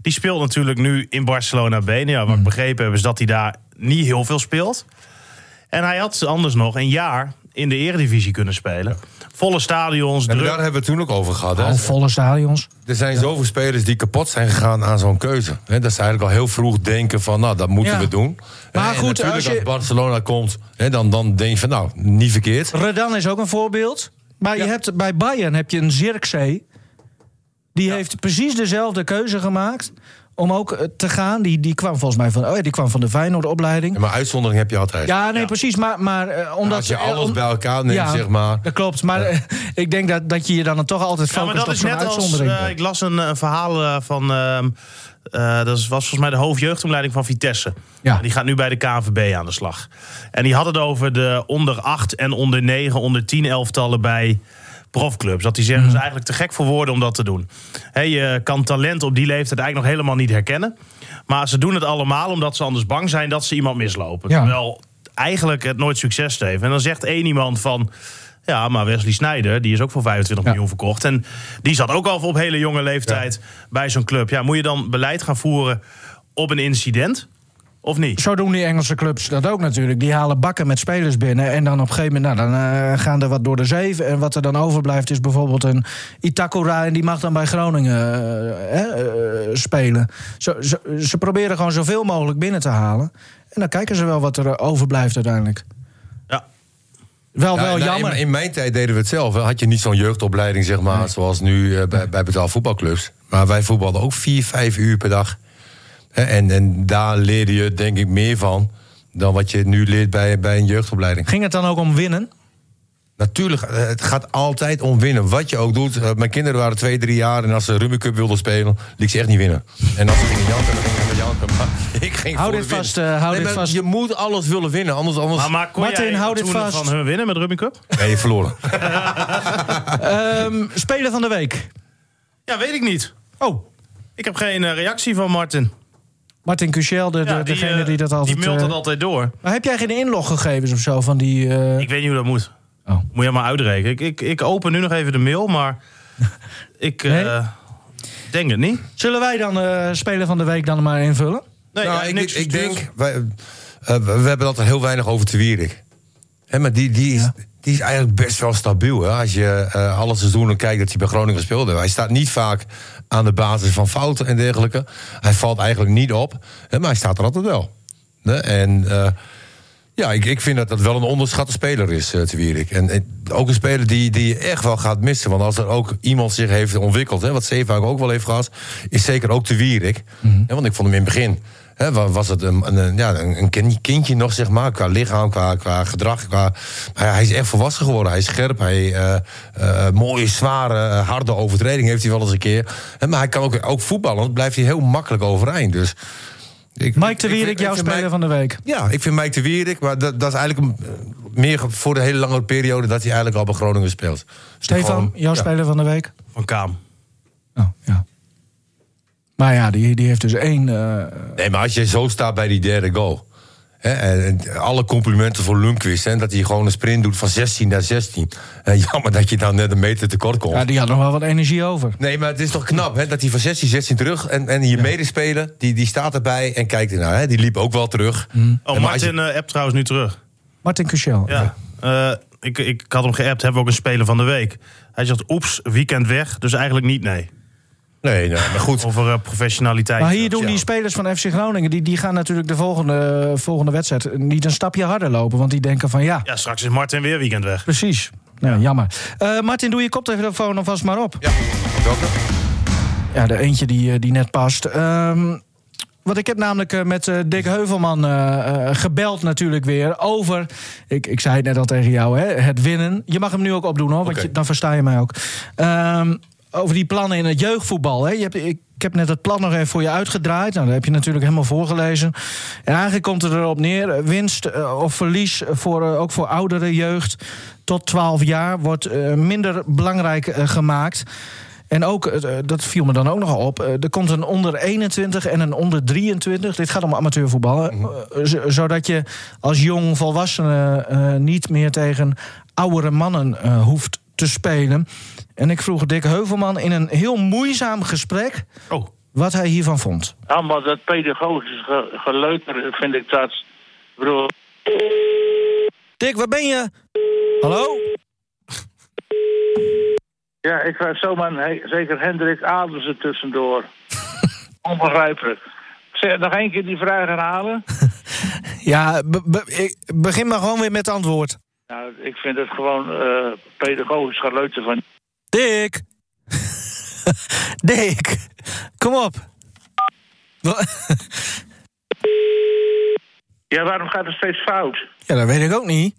die speelt natuurlijk nu in Barcelona B. Nou Ja, wat
Mhm.
ik begrepen heb is dat hij daar niet heel veel speelt. En hij had anders nog een jaar in de eredivisie kunnen spelen. Volle stadions,
En
druk.
daar hebben we het toen ook over gehad. hè.
Al Oh, volle stadions.
Er zijn zoveel spelers die kapot zijn gegaan aan zo'n keuze. Hè, dat ze eigenlijk al heel vroeg denken van, nou, dat moeten
Ja.
we doen.
Maar
Hè, en
goed,
natuurlijk
als
als,
je-
Barcelona komt, hè, dan, dan denk je van, nou, niet verkeerd.
Redan is ook een voorbeeld. Maar je hebt, bij Bayern heb je een Zirkzee. Die heeft precies dezelfde keuze gemaakt om ook eh, te gaan. Die, die kwam volgens mij van, oh ja, die kwam van de Feyenoord-opleiding.
Maar uitzondering heb je altijd.
Ja, nee, precies. Maar, maar eh, omdat...
als je
eh,
alles
om-
bij elkaar neemt,
Ja,
zeg maar.
Dat klopt, maar eh, ik denk dat, dat je je dan toch altijd
Ja, maar
focust
dat
op
is
zo'n
net als.
uitzondering.
eh, ik las een, eh, verhaal eh, van. ehm, eh, dat was volgens mij de hoofdjeugdomleiding van Vitesse.
Ja.
Die gaat nu bij de KNVB aan de slag. En die had het over de onder 8 en onder 9, onder 10 elftallen bij profclubs. Dat die
Mhm.
zeggen, is eigenlijk te gek voor woorden om dat te doen. Hè, je kan talent op die leeftijd eigenlijk nog helemaal niet herkennen. Maar ze doen het allemaal omdat ze anders bang zijn dat ze iemand mislopen.
Ja.
Terwijl eigenlijk het nooit succes heeft. En dan zegt één iemand van... Ja, maar Wesley Sneijder, die is ook voor 25
Ja.
miljoen verkocht. En die zat ook al op hele jonge leeftijd bij zo'n club. Ja, moet je dan beleid gaan voeren op een incident? Of niet?
Zo doen die Engelse clubs dat ook natuurlijk. Die halen bakken met spelers binnen. En dan op een gegeven moment, nou, dan eh, gaan er wat door de zeven. En wat er dan overblijft is bijvoorbeeld een Itakura. En die mag dan bij Groningen eh, eh, eh, spelen. Zo, zo- ze proberen gewoon zoveel mogelijk binnen te halen. En dan kijken ze wel wat er eh, overblijft uiteindelijk.
Ja.
Wel,
Ja,
wel
nou, in-
jammer.
In, mijn tijd deden we het zelf. hè. Had je niet zo'n jeugdopleiding, zeg maar, zoals nu eh, bij, bij betaalvoetbalclubs. Maar wij voetbalden ook vier, vijf uur per dag. Hè, En, en daar leerde je, denk ik, meer van dan wat je nu leert bij, bij een jeugdopleiding.
Ging het dan ook om winnen?
Natuurlijk, eh, het gaat altijd om winnen. Wat je ook doet. Eh, Mijn kinderen waren twee, drie jaar. En als ze Rummy Cup wilden spelen, liet ik ze echt niet winnen. En als ze gingen janken, dan gingen ze met janken. Maar *laughs* ik ging
Hou
voor
dit
de win.
vast, eh, hou dit
maar
vast.
Je moet alles willen winnen. Anders, anders
Maar, maar kon
Martin,
jij
hou dit
toen
vast.
van hun winnen met Rugby Cup?
ben je verloren.
*laughs*
Ehm, speler van de week.
Ja, weet ik niet.
Oh,
Ik heb geen eh, reactie van Martin.
Martin Cuchel, de, de-
Ja,
degene
eh,
die dat altijd...
Die mailt
eh,
dat altijd door.
Maar heb jij geen inloggegevens of zo van die... eh,
Ik weet niet hoe dat moet.
Oh.
Moet jij maar uitrekenen. Ik, ik, ik open nu nog even de mail, maar ik eh,
Nee?
denk het niet.
Zullen wij dan eh speler van de week dan maar invullen?
Nee,
nou,
hij
ik,
heeft niks
ik
gestuurd.
denk, wij, eh, we we hebben dat er heel weinig over te Wierik. Hè, maar die, die, is, die is eigenlijk best wel stabiel. Hè? Als je eh, alle seizoenen kijkt dat hij bij Groningen speelde. Hij staat niet vaak aan de basis van fouten en dergelijke. Hij valt eigenlijk niet op, hè, maar hij staat er altijd wel. Hè? En eh, ja, ik, ik vind dat dat wel een onderschatte speler is, eh te Wierik. En, en ook een speler die, die je echt wel gaat missen. Want als er ook iemand zich heeft ontwikkeld, hè, wat Zeevaak ook wel heeft gehad, is zeker ook te Wierik.
Mhm.
Hè, Want ik vond hem in het begin. Hè, wa- was het een, een- een, ja, een kin- kindje nog, zeg maar, qua lichaam, qua, qua gedrag. Qua, maar hij is echt volwassen geworden. Hij is scherp, hij eh, eh, mooie, zware, eh, harde overtreding heeft hij wel eens een keer. Hè, maar hij kan ook, ook voetballen, blijft hij heel makkelijk overeind. Dus, ik,
Mike de
ik- ik
Wierik,
vind-
jouw
ik vind Mike-
speler van de week.
ja, ik vind Mike de Wierik, maar dat, dat is eigenlijk een- eh, meer voor de hele lange periode dat hij eigenlijk al bij Groningen speelt. Dus
Stefan,
Gewoon-
jouw
ja.
speler van de week?
Van Kaam.
Oh, ja. Maar ja, die, die heeft dus één... eh,
Nee, maar als je zo staat bij die derde goal. Hè, en, en alle complimenten voor Lundqvist. Hè, dat hij gewoon een sprint doet van 16 naar 16. En *laughs* jammer dat je dan net een meter tekort komt.
ja, die had nog wel wat energie over.
Nee, maar het is toch knap hè, dat hij van 16, 16 terug. En, en je medespeler, die, die staat erbij en kijkt ernaar. Hè, die liep ook wel terug. En
Oh,
maar als je-
Martin eh appt trouwens nu terug.
Martin Cuchel.
Ja. Eh, ik, ik, ik had hem geappt, hebben we ook een speler van de week. Hij zegt, oeps, weekend weg, dus eigenlijk niet nee.
Nee, nee, maar goed.
Over eh, professionaliteit.
Maar hier doen
Ja.
die spelers van FC Groningen... die, die gaan natuurlijk de volgende, volgende wedstrijd niet een stapje harder lopen. Want die denken van ja,
Ja, straks is Martin weer weekend weg.
precies. Nou, Jammer. Eh, Martin, doe je koptelefoon alvast maar op.
Ja, welke?
Ja, de eentje die, eh, die net past. Ehm, want ik heb namelijk eh, met eh, Dick Heuvelman eh, eh, gebeld natuurlijk weer over... Ik, ik zei het net al tegen jou, hè, het winnen. Je mag hem nu ook opdoen, hoor, want
Oké.
je, dan versta je mij ook. Ehm, over die plannen in het jeugdvoetbal. Hè. Je hebt, ik, ik heb net het plan nog even voor je uitgedraaid. Nou, dat heb je natuurlijk helemaal voorgelezen. En eigenlijk komt het erop neer. eh, Winst eh, of verlies voor, eh, ook voor oudere jeugd tot 12 jaar... wordt eh, minder belangrijk eh, gemaakt... En ook, eh, dat viel me dan ook nog op, eh, er komt een onder 21 en een onder 23. Dit gaat om amateurvoetbal. hè. Eh, z- Zodat je als jong volwassene eh, niet meer tegen oudere mannen eh, hoeft te spelen. En ik vroeg Dick Heuvelman in een heel moeizaam gesprek
Oh,
wat hij hiervan vond.
Allemaal dat pedagogisch ge- geleuter vind ik dat. Ik bedoel,
Dick, waar ben je? Hallo?
ja, ik krijg zomaar een he- zeker Hendrik Adels er tussendoor. Onbegrijpelijk. Zeg, nog één keer die vraag herhalen?
Ja, be- be- ik- begin maar gewoon weer met antwoord.
Nou, ik vind het gewoon eh, pedagogisch geleuter van...
Dick! *laughs* Dick, kom *laughs* op. Wa-
Ja, waarom gaat het steeds fout?
Ja, dat weet ik ook niet.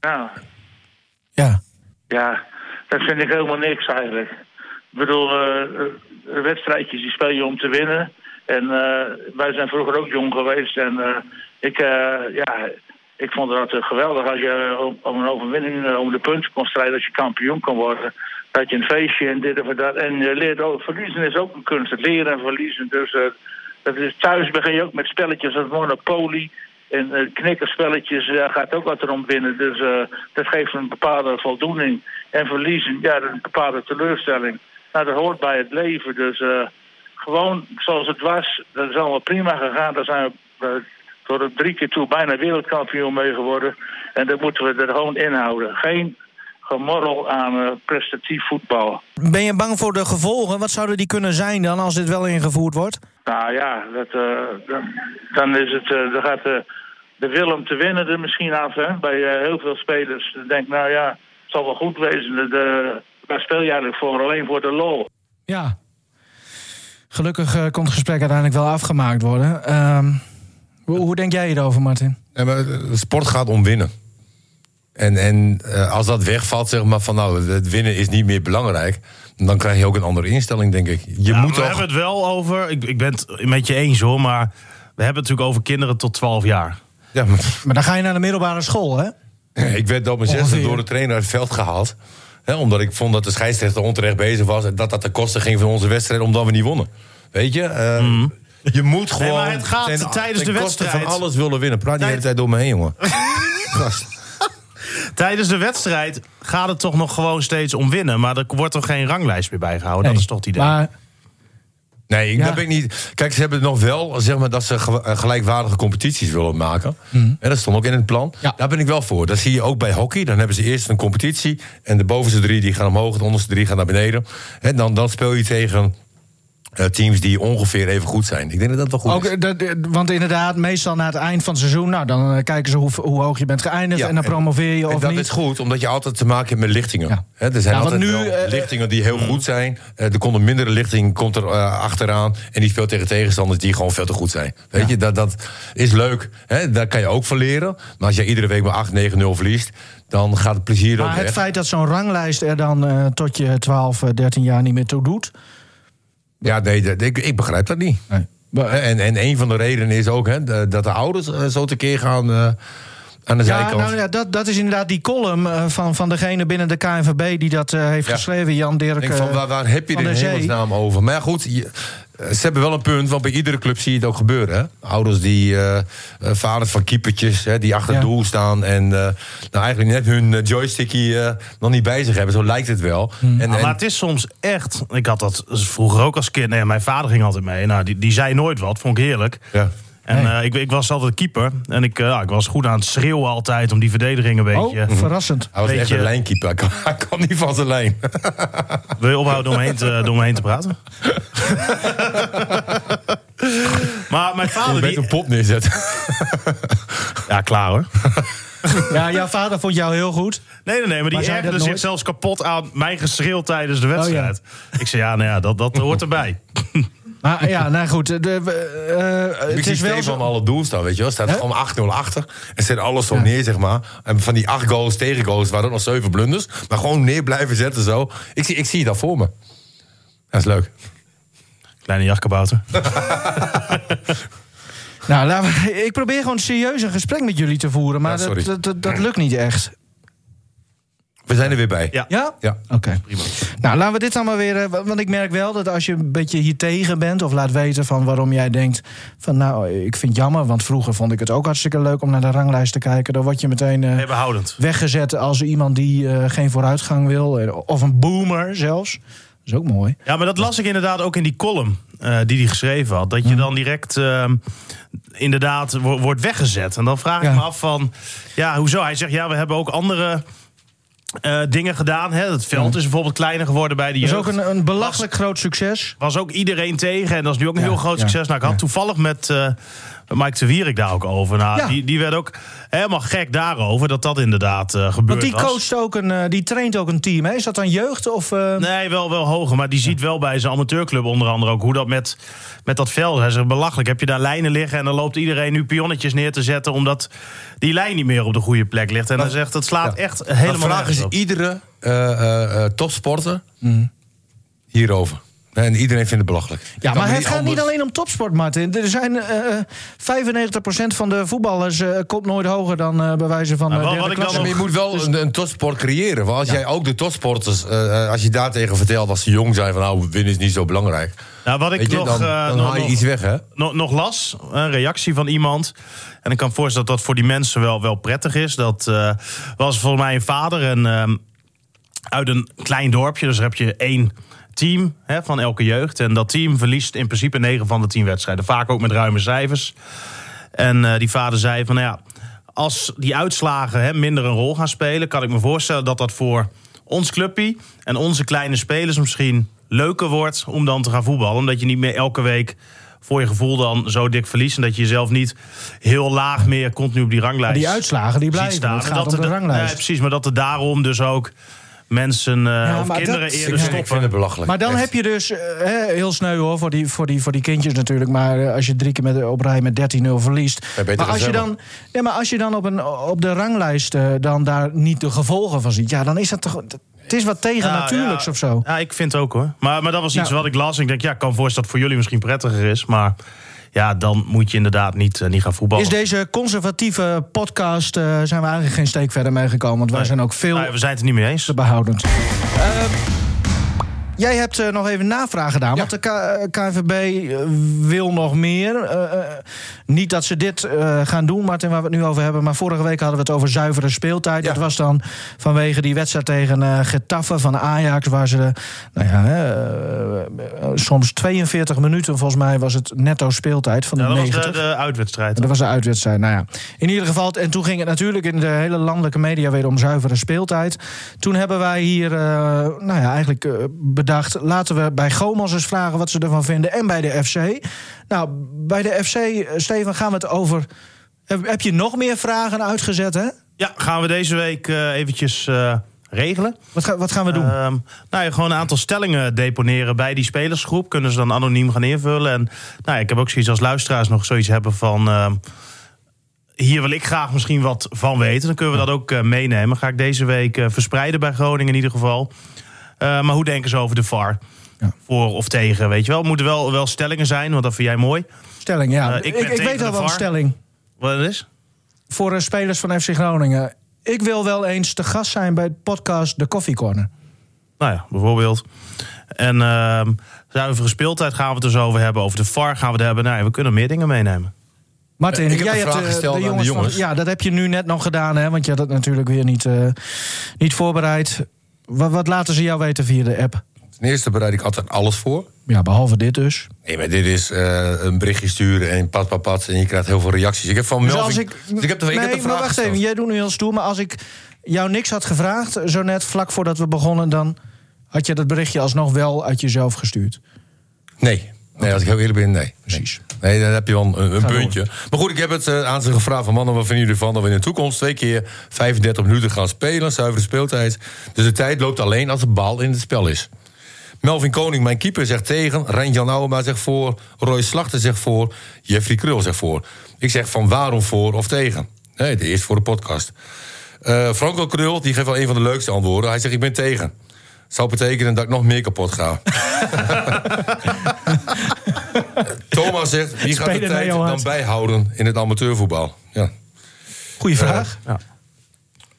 Nou,
Ja.
ja, dat vind ik helemaal niks eigenlijk. Ik bedoel, eh, eh, wedstrijdjes die speel je om te winnen. En eh, wij zijn vroeger ook jong geweest. En eh, ik, eh, ja, ik vond dat eh, geweldig als je om, om een overwinning, eh, om de punten kon strijden, dat je kampioen kon worden. Dat je een feestje en dit en dat. En je leert ook, verliezen is ook een kunst. Het leren en verliezen. Dus eh, dat is, thuis begin je ook met spelletjes als Monopoly. En eh, knikkerspelletjes, daar gaat ook wat erom binnen. Dus eh, dat geeft een bepaalde voldoening. En verliezen, ja, een bepaalde teleurstelling. Nou, dat hoort bij het leven. Dus eh, gewoon zoals het was, dat is allemaal prima gegaan. Daar zijn we eh, tot op drie keer toe bijna wereldkampioen mee geworden. En dat moeten we er gewoon in houden. Geen gemorrel aan eh, prestatief voetbal.
Ben je bang voor de gevolgen? Wat zouden die kunnen zijn dan als dit wel ingevoerd wordt?
Nou ja, dat, eh, dan, dan is het, eh, dan gaat de, de wil om te winnen er misschien af. Hè? Bij eh, heel veel spelers denk nou ja, het zal wel goed wezen. De, de- waar speel je eigenlijk voor? Alleen voor de lol.
Ja. Gelukkig eh, kon het gesprek uiteindelijk wel afgemaakt worden. Ehm, hoe, hoe denk jij hierover, Martin?
Ja, maar eh, sport gaat om winnen. En, en eh, als dat wegvalt, zeg maar van nou, het winnen is niet meer belangrijk. Dan krijg je ook een andere instelling, denk ik. Je
Ja,
moet
Nou, we
toch.
hebben het wel over. Ik, ik ben het met je eens hoor, maar we hebben het natuurlijk over kinderen tot 12 jaar.
Ja, maar- *laughs*
Maar dan ga je naar de middelbare school, hè?
ik werd op mijn zesde
Ongeveer.
door de trainer uit het veld gehaald. Hè, omdat ik vond dat de scheidsrechter onterecht bezig was. En dat dat de kosten ging van onze wedstrijd, omdat we niet wonnen. Weet je? eh, Je moet gewoon.
Mhm. maar het gaat tijdens
ten
de
koste
wedstrijd.
van alles willen winnen. Praat die hele tijd
Tijd-
door me heen,
*laughs*
jongen. Gast.
Tijdens de wedstrijd gaat het toch nog gewoon steeds om winnen. Maar er wordt toch geen ranglijst meer bijgehouden. Dat is toch het idee.
Maar
Nee, ik,
Ja.
dat ben ik niet. Kijk, ze hebben het nog wel, zeg maar, dat ze ge- eh, gelijkwaardige competities willen maken. En dat stond ook in het plan.
Mhm. Ja.
Daar ben ik wel voor. Dat zie je ook bij hockey. Dan hebben ze eerst een competitie. En de bovenste drie die gaan omhoog, de onderste drie gaan naar beneden. En dan, dan speel je tegen eh, teams die ongeveer even goed zijn. Ik denk dat dat wel goed is.
ook, dat, eh, want inderdaad, meestal na het eind van het seizoen... nou, dan eh, kijken ze hoe, hoe hoog je bent geëindigd
Ja,
en dan promoveer je
en
of
dat
niet.
is goed, omdat je altijd te maken hebt met lichtingen.
Ja.
Hè, er zijn
Ja, want nu,
altijd wel
eh,
lichtingen die heel goed zijn. Eh, er komt een mindere lichting komt er eh, achteraan. En die speelt tegen tegenstanders die gewoon veel te goed zijn. Weet je, dat, dat is leuk. Hè, daar kan je ook van leren. Maar als je iedere week maar 8, 9, 0 verliest... dan gaat het plezier ook
Maar het
weg.
feit dat zo'n ranglijst er dan eh, tot je 12, eh, 13 jaar niet meer toe doet...
Ja, nee, dat- ik, ik begrijp dat niet.
Maar-
Hè, En, en een van de redenen is ook hè, de- dat de ouders eh, zo tekeer gaan... eh, aan de
Ja,
zijkant.
nou ja, dat, dat is inderdaad die column eh, van, van degene binnen de KNVB die dat eh, heeft
Ja.
geschreven, Jan Dirk.
Ik denk van,
eh,
waar, waar heb je nou
van
dit in
der Zee.
hemelsnaam over? Maar ja, goed, je- eh, ze hebben wel een punt, want bij iedere club zie je het ook gebeuren. Hè? Ouders die, eh eh, vaders van keepertjes, hè, die achter
Ja.
het doel staan... en eh, nou eigenlijk net hun eh, joystickje eh, nog niet bij zich hebben. Zo lijkt het wel.
Hmm.
En,
Nou, Maar
en,
het is soms echt. Ik had dat vroeger ook als kind. Nee, mijn vader ging altijd mee. Nou, die, die zei nooit wat. Vond ik heerlijk.
ja.
En eh, ik, ik was altijd keeper. En ik, eh, ja, ik was goed aan het schreeuwen altijd om die verdediging een
oh, *laughs*
beetje.
*laughs*
verrassend.
Hij was
Weet
echt
je-
een lijnkeeper. Hij kwam- Hij kwam niet van zijn lijn.
Wil je ophouden om heen te, door me heen te
*laughs*
praten? maar mijn
Je
vader.
bent
Die,
een pop neerzetten.
ja, klaar hoor.
Ja, jouw vader vond jou heel goed.
Nee, nee, nee, maar die
Maar zei
ergerde
dat
zich
nooit? Oh,
zelfs kapot aan mijn geschreeuw tijdens de wedstrijd. Ik zei, ja, nou ja, dat, dat hoort erbij.
Maar ja, nou goed. De, we- eh,
Ik
het
zie
is wel
Stefan
zo.
aan alle doel staan, weet je wel. Staat
Hè?
gewoon 8-0 achter. En zet alles zo neer, zeg maar. En van die acht goals, tegen goals, waren ook nog zeven blunders. Maar gewoon neer blijven zetten, zo. Ik zie, ik zie dat voor me. Dat is leuk.
Kleine
*laughs*
jachtkabouter.
Nou, laten we- *laughs* ik probeer gewoon serieus een gesprek met jullie te voeren, maar
Ja, sorry.
dat, dat, dat, dat lukt niet echt.
We zijn er weer bij.
Ja.
Ja?
Ja.
Oké. Nou, laten we dit dan maar weer. eh, wa- Want ik merk wel dat als je een beetje hier tegen bent. of laat weten van waarom jij denkt. van nou, ik vind het jammer. want vroeger vond ik het ook hartstikke leuk om naar de ranglijst te kijken. dan word je meteen eh,
Nee, behoudend.
weggezet als iemand die eh, geen vooruitgang wil. eh, of een boomer zelfs. Dat is ook mooi.
Ja, maar dat las ik inderdaad ook in die column eh, die hij geschreven had.
Mhm.
Dat je dan direct ehm, inderdaad wo- wordt weggezet. En dan vraag
Ja.
ik me af van, ja, hoezo? Hij zegt, ja, we hebben ook andere eh, dingen gedaan. Hè? Het veld is bijvoorbeeld kleiner geworden bij de
Dat is
jeugd.
ook een, een belachelijk groot succes.
was ook iedereen tegen. En dat is nu ook een
Ja,
heel groot
ja,
succes. Nou, ik had
ja.
toevallig met eh, Mike de Wierik daar ook over. Nou,
Ja.
die, die werd ook helemaal gek daarover dat dat inderdaad eh gebeurd
Want die
was.
coacht ook een. eh, die traint ook een team. Hè? Is dat dan jeugd of. eh,
Nee, wel, wel hoger. Maar die ziet wel bij zijn amateurclub onder andere ook hoe dat met, met dat veld. Hij zegt belachelijk. Heb je daar lijnen liggen en dan loopt iedereen nu pionnetjes neer te zetten. omdat die lijn niet meer op de goede plek ligt. En hij zegt dat slaat
Ja.
echt helemaal
Dan vragen
nergens
ze
op.
iedere eh, eh, eh, topsporter hierover. En iedereen vindt het belachelijk.
Mhm. Ja,
Kan
maar
me
het gaat
anders-
niet alleen om topsport, Martin. Er zijn eh, 95% van de voetballers eh, komt nooit hoger dan eh bij wijze van
Nou,
eh,
wat-
derde
wat ik dan
klasse.
Ja, maar je moet wel
Dus-
een, een topsport creëren. Want als jij ook de topsporters, eh, eh, als je daartegen vertelt als ze jong zijn van nou, winnen is niet zo belangrijk.
Nou, wat ik
Weet je,
nog,
dan,
eh,
dan
nog-
haal je
nog-
iets weg, hè?
nog, nog las, een reactie van iemand. En ik kan me voorstellen dat dat voor die mensen wel, wel prettig is. Dat eh, was volgens mij een vader en, ehm, uit een klein dorpje. Dus daar heb je één team hè, van elke jeugd. En dat team verliest in principe 9 van de 10 wedstrijden. Vaak ook met ruime cijfers. En eh, die vader zei van, nou ja, als die uitslagen hè, minder een rol gaan spelen... kan ik me voorstellen dat dat voor ons clubje en onze kleine spelers misschien leuker wordt... om dan te gaan voetballen. Omdat je niet meer elke week voor je gevoel dan zo dik verliest... en dat je jezelf niet heel laag meer continu op die ranglijst...
Die uitslagen die blijven.
ziet staan.
Het
En
gaat om de
er-
ranglijst.
nee, precies, maar dat er daarom dus ook mensen eh, of
maar
kinderen
dat-
eerder
ja.
Ik vind het
stoppen.
belachelijk.
Maar dan
Echt.
heb je dus, eh, hè, heel sneu hoor, voor die, voor, die, voor die kindjes natuurlijk. Maar eh, als je drie keer met, op rij met 13-0 verliest.
Ja, beter
maar, als je
gezellig.
dan, nee, maar als je dan op, een, op de ranglijst eh, dan daar niet de gevolgen van ziet. Ja, dan is dat toch... Het is wat tegennatuurlijks
ja,
of zo.
Ja, ik vind het ook hoor. Maar, maar dat was iets
Nou.
wat ik las. Ik denk, ja, ik kan me voorstellen dat het voor jullie misschien prettiger is. Maar ja, dan moet je inderdaad niet, eh, niet gaan voetballen.
Is deze conservatieve podcast, eh, zijn we eigenlijk geen steek verder mee gekomen. Want wij
Nee.
zijn ook veel
Nou ja, we zijn het er niet mee eens.
te behoudend. Eh, jij hebt eh, nog even navraag gedaan, want de K- eh, KNVB eh, wil nog meer. Eh, eh, niet dat ze dit eh, gaan doen, Martin, waar we het nu over hebben. Maar vorige week hadden we het over zuivere speeltijd.
Ja.
Dat was dan vanwege die wedstrijd tegen eh Getafe van Ajax... waar ze eh, nou ja, eh, eh, soms 42 minuten, volgens mij, was het netto speeltijd van de
Ja, dat was
90.
de, de uitwedstrijd.
Dat was de uitwedstrijd. Nou ja, in ieder geval. En toen ging het natuurlijk in de hele landelijke media weer om zuivere speeltijd. Toen hebben wij hier eh, nou ja, eigenlijk eh, bedacht. Laten we bij Gomans eens vragen wat ze ervan vinden. En bij de FC. Nou, bij de FC, eh, Steven, gaan we het over. Heb, heb je nog meer vragen uitgezet? Hè?
Ja, gaan we deze week eh, eventjes eh, regelen.
Wat, ga- wat gaan we doen?
Ehm, nou ja, gewoon een aantal stellingen deponeren bij die spelersgroep. Kunnen ze dan anoniem gaan invullen. En nou ja, ik heb ook zoiets als luisteraars nog zoiets hebben van... ehm, hier wil ik graag misschien wat van weten. Dan kunnen we dat ook eh, meenemen. Ga ik deze week eh, verspreiden bij Groningen in ieder geval. Eh, maar hoe denken ze over de VAR?
Ja.
Voor of tegen, weet je wel. Moeten wel, wel stellingen zijn, want dat vind jij mooi.
stelling, ja.
eh, ik
ik
ben
ik,
tegen
weet al
de
wel een
VAR.
stelling.
Wat het is?
Voor eh, spelers van FC Groningen. Ik wil wel eens te gast zijn bij het podcast De Coffee Corner.
Nou ja, bijvoorbeeld. En ehm zuivere speeltijd gaan we het dus over hebben. Over de VAR gaan we het hebben. Nou ja, we kunnen meer dingen meenemen.
Martin,
Ik heb
jij
een vraag
hebt eh,
gesteld aan de
van-
jongens.
ja, dat heb je nu net nog gedaan, hè? Want je had het natuurlijk weer niet, eh, niet voorbereid. Wat, wat laten ze jou weten via de app?
Ten eerste bereid ik altijd alles voor.
Ja, behalve dit dus.
Nee, maar dit is eh, een berichtje sturen en pat, pat, pat. En je krijgt heel veel reacties. Ik heb van
Dus
Melvin...
als ik,
ik heb de, ik
nee,
heb
maar
de vraag
wacht even.
gesteld.
Jij doet nu heel stoer, maar als ik jou niks had gevraagd, zo net vlak voordat we begonnen, dan had je dat berichtje alsnog wel uit jezelf gestuurd.
Nee. nee, als ik heel eerlijk ben, nee. Precies. Nee, dan heb je wel een, een puntje. Maar goed, ik heb het eh, aan ze gevraagd van mannen, wat vinden jullie ervan dat we in de toekomst twee keer 35 minuten gaan spelen, zuivere speeltijd. Dus de tijd loopt alleen als de bal in het spel is. Melvin Koning, mijn keeper, zegt tegen. Rijn-Jan Ouwema zegt voor. Roy Slachter zegt voor. Jeffrey Krul zegt voor. Ik zeg van waarom voor of tegen? Nee, de eerst voor de podcast. Eh, Franco Krul, die geeft wel een van de leukste antwoorden. Hij zegt, ik ben tegen. Zou betekenen dat ik nog meer kapot
*laughs*
ga. Thomas zegt, wie gaat de
Spelen naar
tijd
jouw
dan
hart.
bijhouden in het amateurvoetbal? Ja.
Goeie
Eh,
vraag.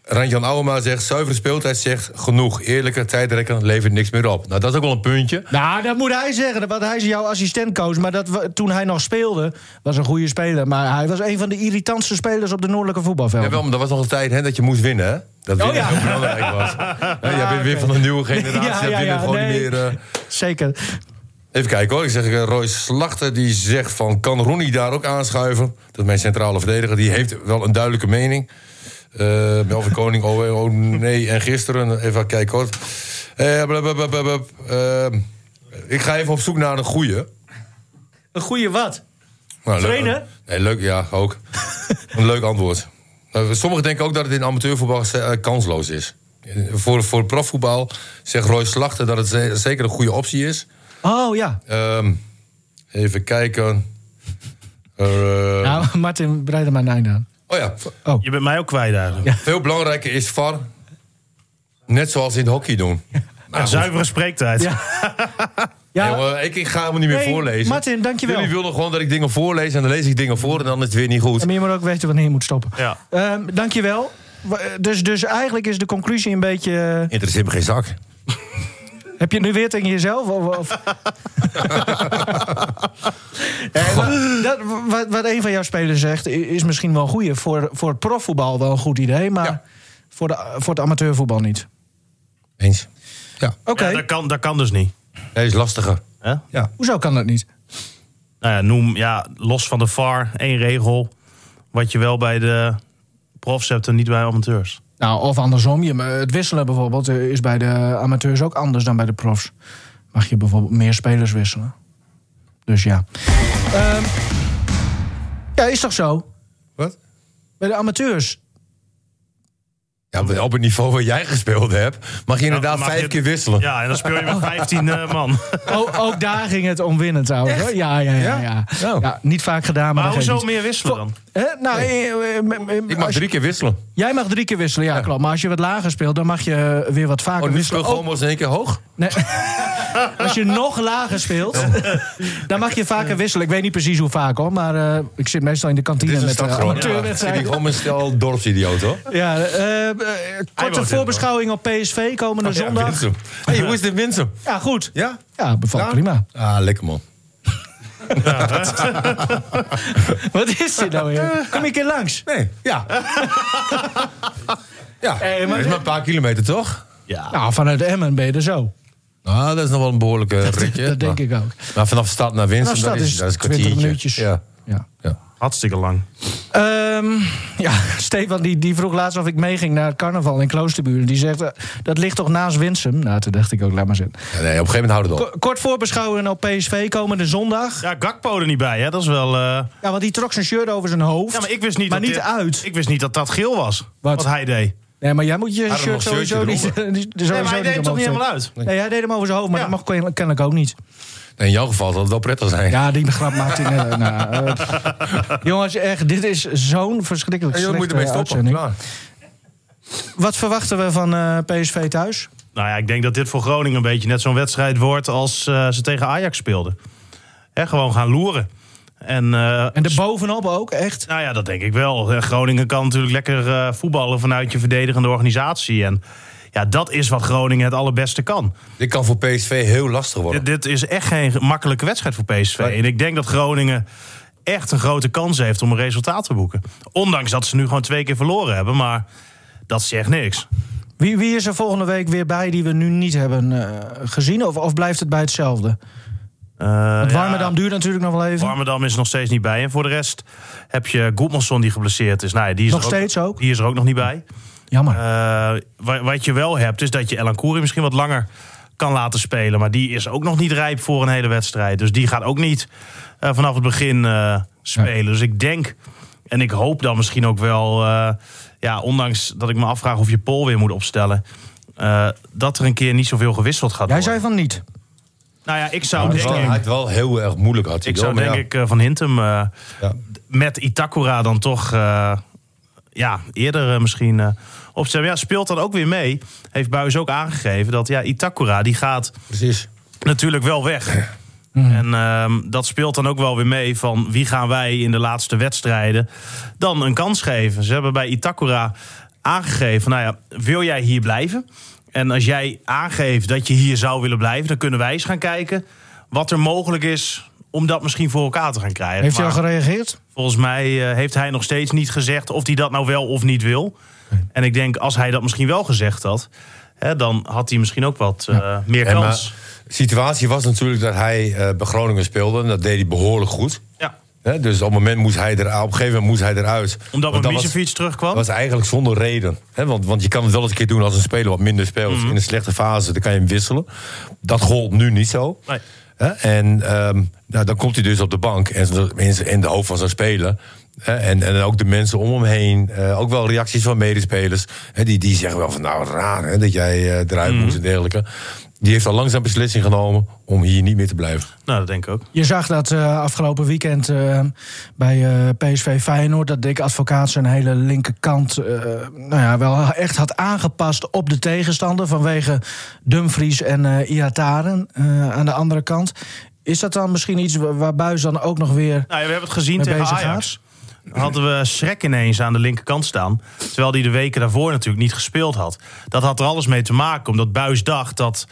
Randjan Ouwema zegt, zuivere speeltijd zegt genoeg. Eerlijke tijdrekken levert niks meer op. Nou, dat is ook wel een puntje.
Nou, dat moet hij zeggen, want hij is jouw assistentcoach. Maar dat, we- toen hij nog speelde, was een goede speler. Maar hij was een van de irritantste spelers op de noordelijke voetbalvelden.
Ja, wel, maar dat was nog een tijd hè, dat je moest winnen, hè? Dat winnen
Oh ja. Ah,
heel belangrijk
*laughs*
was. Hè, jij bent weer
oké.
van de nieuwe generatie.
Ja,
dat
ja,
winnen
ja,
gewoon
nee.
niet meer... eh,
Zeker.
Even kijken hoor. Ik zeg eh, Roy Slachter die zegt van kan Rooney daar ook aanschuiven? Dat is mijn centrale verdediger. Die heeft wel een duidelijke mening. Eh Melvin Koning, oh, eh, oh nee. En gisteren, even kijken hoor. Eh, blub, blub, blub, blub, blub. Eh, ik ga even op zoek naar een goeie.
Een goede wat?
Nou, leuk-
Trainen?
nee, leuk, ja, ook. een leuk antwoord. Eh, Sommigen denken ook dat het in amateurvoetbal eh, kansloos is. Eh, Voor, voor profvoetbal zegt Roy Slachter dat het ze- zeker een goede optie is.
Oh ja.
Ehm, even kijken. Eh,
Nou, *laughs* Martin, breid er maar een einde aan.
Oh ja,
Je bent mij ook kwijt eigenlijk.
veel belangrijker is VAR. Net zoals in het hockey doen. Nou,
Zuivere spreektijd.
Ja.
goed.
Ja,
Jongen, eh, ik, ik ga hem niet meer
Nee,
voorlezen.
Martin, dankjewel.
Jullie willen gewoon dat ik dingen voorlees en dan lees ik dingen voor en dan is het weer niet goed.
maar je moet ook weten wanneer je moet stoppen.
Ja.
Ehm, dankjewel. W- eh, Dus, dus eigenlijk is de conclusie een beetje... eh,
Interesseert me geen zak.
Heb je het nu weer tegen jezelf? Of, of... Eh, maar dat, wat, wat een van jouw spelers zegt, i- is misschien wel een goeie. Voor, voor het profvoetbal wel een goed idee, maar
Ja.
voor, de, voor het amateurvoetbal niet.
Eens. Ja,
Oké,
Ja, dat, kan, dat kan dus niet.
hij is lastiger.
Hè?
hoezo kan dat niet?
Nou ja, noem ja, los van de VAR één regel. Wat je wel bij de profs hebt en niet bij amateurs.
Nou, of andersom. Je, het wisselen bijvoorbeeld eh, is bij de amateurs ook anders dan bij de profs. Mag je bijvoorbeeld meer spelers wisselen. Dus ja. Ehm, ja, is toch zo?
Wat?
Bij de amateurs.
Ja, op het niveau waar jij gespeeld hebt, mag je inderdaad
mag
vijf
je-
keer wisselen.
Ja, en dan speel je met 15 eh,
*laughs*
man.
Ook, ook daar ging het om winnen trouwens. hoor. Ja, ja, ja, ja.
Ja? Oh.
ja. Niet vaak gedaan, maar,
Maar
dat
hoezo
geeft niet.
meer wisselen dan?
Hè? Nou, eh, eh, eh, eh,
Ik mag
als je- Oh,
drie keer wisselen.
Jij mag drie keer wisselen, ja, klopt. Maar als je wat lager speelt, dan mag je eh, weer wat vaker
Oh, nu
wisselen.
speel gewoon maar eens in één keer hoog.
Nee. *laughs* Als je nog lager
*laughs*
speelt, dan mag je vaker wisselen. Ik weet niet precies hoe vaak hoor, maar eh, ik zit meestal in de
Dit
kantine
is een
met eh, de
stad Groningen. Ja, dan zit ik
amateurwedstrijden.
gewoon een stel dorpsidioot, hoor.
Ja, eh, eh, korte
in,
voorbeschouwing op PSV komende zondag. Ja,
Winsum. Hey, hoe is dit Winsum?
goed.
Ja?
Ja, bevalt
Ja?
prima.
Ah, lekker man.
Wat is dit nou weer? Kom ik keer langs?
*laughs* Nee, ja. ja,
Hey, maar-
dat is maar een paar kilometer toch?
Ja.
Nou, vanuit Emmen ben je er zo.
Nou, dat is nog wel een behoorlijke ritje.
Dat denk
maar,
ik ook.
Maar vanaf stad naar Winsum,
Nou, stad
dat is,
is
dat is een
20
kwartiertje.
minuutjes.
Ja.
Ja.
ja.
Hartstikke lang.
Ehm, ja, *laughs* Stefan die, die vroeg laatst of ik meeging naar het carnaval in Kloosterburen. Die zegt, eh, dat ligt toch naast Winsum? Nou, toen dacht ik ook, laat maar zitten.
Ja, Nee, op een gegeven moment houden we het op.
Ko- Kort voorbeschouwen op PSV komende zondag.
Ja, Gakpo er niet bij, hè? Dat is wel... eh,
Ja, want die trok zijn shirt over zijn hoofd.
Ja, maar ik wist niet
Maar
dat
niet
dit-
uit.
Ik wist niet dat dat geel was. Wat, hij deed.
Nee, maar jij moet je
had
shirt
nog een
sowieso niet... *laughs* die-
shirtje
die- sowieso
Nee, maar hij deed hem toch
omhoog
niet helemaal uit?
trekken. Nee, hij deed hem over zijn hoofd, maar
Ja.
dat mag ken- kennelijk ook niet.
Nee, in jouw geval zal het wel prettig zijn.
Ja, die grap maakt hij *laughs* net. nou, eh, jongens, echt, dit is zo'n verschrikkelijk
Hey, joh,
slechte
je moet ermee
uitzending.
stoppen. Klaar.
Wat verwachten we van eh, PSV thuis?
Nou ja, ik denk dat dit voor Groningen een beetje net zo'n wedstrijd wordt als eh, ze tegen Ajax speelden. Hè, gewoon gaan loeren. En, eh,
En er bovenop ook, echt.
nou ja, dat denk ik wel. Eh, Groningen kan natuurlijk lekker eh, voetballen vanuit je verdedigende organisatie. En ja, dat is wat Groningen het allerbeste kan.
Dit kan voor PSV heel lastig worden.
Dit, dit is echt geen makkelijke wedstrijd voor PSV. En ik denk dat Groningen echt een grote kans heeft om een resultaat te boeken. Ondanks dat ze nu gewoon twee keer verloren hebben, maar dat zegt niks.
Wie, wie is er volgende week weer bij die we nu niet hebben eh, gezien? Of, of blijft het bij hetzelfde?
Uh,
Want Warmerdam duurt natuurlijk nog wel even.
Warmerdam is er nog steeds niet bij. En voor de rest heb je Goedmanson die geblesseerd is. Nou ja, die is
Nog
er
steeds ook?
Die is er ook nog niet bij.
Jammer.
Eh, wa- wat je wel hebt, is dat je Elan Koeri misschien wat langer kan laten spelen. Maar die is ook nog niet rijp voor een hele wedstrijd. Dus die gaat ook niet eh, vanaf het begin eh, spelen. Dus ik denk en ik hoop dan misschien ook wel, eh, ja, ondanks dat ik me afvraag of je Pol weer moet opstellen, eh, dat er een keer niet zoveel gewisseld
Jij
gaat worden.
zei van niet.
Nou ja, ik
Ja,
zou
het
denk
was- hij
ik,
had het wel heel erg moeilijk had hij
ik
wel,
zou
maar
denk
ja.
ik eh, van Hintem eh,
Ja.
met Itakura dan toch eh, ja, eerder eh, misschien eh, opstellen. Ja, speelt dat ook weer mee? Heeft Buis ook aangegeven dat ja, Itakura die gaat
Precies.
natuurlijk wel weg.
Hmm.
En ehm, dat speelt dan ook wel weer mee van wie gaan wij in de laatste wedstrijden dan een kans geven. Ze hebben bij Itakura aangegeven, nou ja, wil jij hier blijven? En als jij aangeeft dat je hier zou willen blijven, dan kunnen wij eens gaan kijken wat er mogelijk is om dat misschien voor elkaar te gaan krijgen.
Heeft hij al
Maar-
gereageerd?
Volgens mij eh, heeft hij nog steeds niet gezegd of hij dat nou wel of niet wil. En ik denk, als hij dat misschien wel gezegd had, hè, dan had hij misschien ook wat eh, meer
En, maar,
kans.
de situatie was natuurlijk dat hij eh, bij Groningen speelde. En dat deed hij behoorlijk goed.
Ja,
Hè, dus op het moment moest hij er, op een gegeven moment moest hij eruit.
omdat
Want
we
dat was-
Misevic terugkwam.
Dat was eigenlijk zonder reden. Hè? Want, want je kan het wel eens een keer doen als een speler wat minder speelt.
Mhm.
In een slechte fase, dan kan je hem wisselen. Dat gold nu niet zo.
Nee.
Hè? En ehm, nou, dan komt hij dus op de bank. En zo- in zijn- in de hoofd van zijn speler. Hè? En, en ook de mensen om hem heen. eh, ook wel reacties van medespelers. Hè? Die, die zeggen wel van nou raar hè, dat jij eh, eruit
Mhm.
moest en dergelijke. Die heeft al langzaam beslissing genomen om hier niet meer te blijven.
Nou, dat denk ik ook.
Je zag dat eh, afgelopen weekend eh, bij eh, PSV Feyenoord... dat Dick Advocaat zijn hele linkerkant eh, nou ja, wel echt had aangepast op de tegenstander... vanwege Dumfries en eh Iataren eh, aan de andere kant. Is dat dan misschien iets wa- waar Buis dan ook nog weer...
Nou, ja, we hebben het gezien
eh, Mee
tegen
bezig
Ajax. Hadden we Schrek ineens aan de linkerkant staan. Terwijl hij de weken daarvoor natuurlijk niet gespeeld had. Dat had er alles mee te maken, omdat Buis dacht dat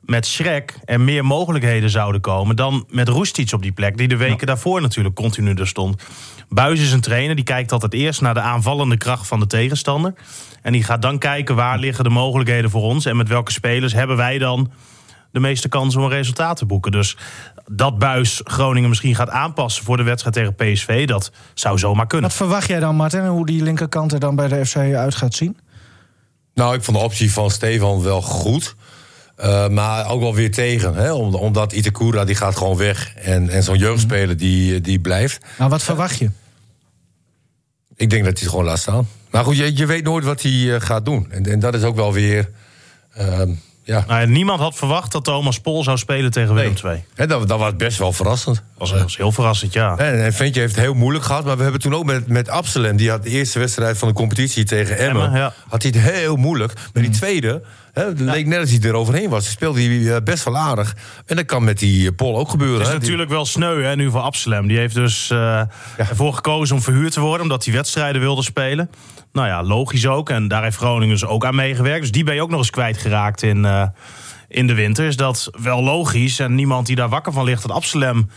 met Schrek er meer mogelijkheden zouden komen dan met Roestic op die plek, die de weken daarvoor natuurlijk continu er stond. Buis is een trainer, die kijkt altijd eerst naar de aanvallende kracht van de tegenstander. En die gaat dan kijken waar liggen de mogelijkheden voor ons en met welke spelers hebben wij dan de meeste kans om een resultaat te boeken. Dus dat Buis Groningen misschien gaat aanpassen voor de wedstrijd tegen PSV, dat zou zomaar kunnen.
Wat verwacht jij dan, Martin, hoe die linkerkant er dan bij de FC uit gaat zien?
Nou, ik vond de optie van Stefan wel goed. Eh, maar ook wel weer tegen. Hè? Om- Omdat Itakura die gaat gewoon weg. En, en
Mhm.
zo'n jeugdspeler die, eh, die blijft.
Nou, wat verwacht je?
Ik denk dat hij het gewoon laat staan. Maar goed, je, je weet nooit wat hij eh, gaat doen. En, en dat is ook wel weer. ehm, ja.
Nou ja, niemand had verwacht dat Thomas Pol zou spelen tegen Willem II.
Hè, dat, dat was best wel verrassend.
Dat was, dat was heel verrassend, ja.
En, en Ventje heeft het heel moeilijk gehad. Maar we hebben toen ook met, met Absalem. Die had de eerste wedstrijd van de competitie tegen Emmen.
Emmen, ja. Mm.
Had hij het heel moeilijk. Maar die tweede. Hè, het leek net als hij er overheen was. Speelde hij eh, best wel aardig. En dat kan met die eh, Pol ook gebeuren.
Het is
hè. Die-
natuurlijk wel sneu hè, nu voor Absalem. Die heeft dus eh, ervoor gekozen om verhuurd te worden... omdat hij wedstrijden wilde spelen. Nou ja, logisch ook. En daar heeft Groningen dus ook aan meegewerkt. Dus die ben je ook nog eens kwijtgeraakt in, eh, in de winter. Is dat wel logisch? En niemand die daar wakker van ligt dat Absalem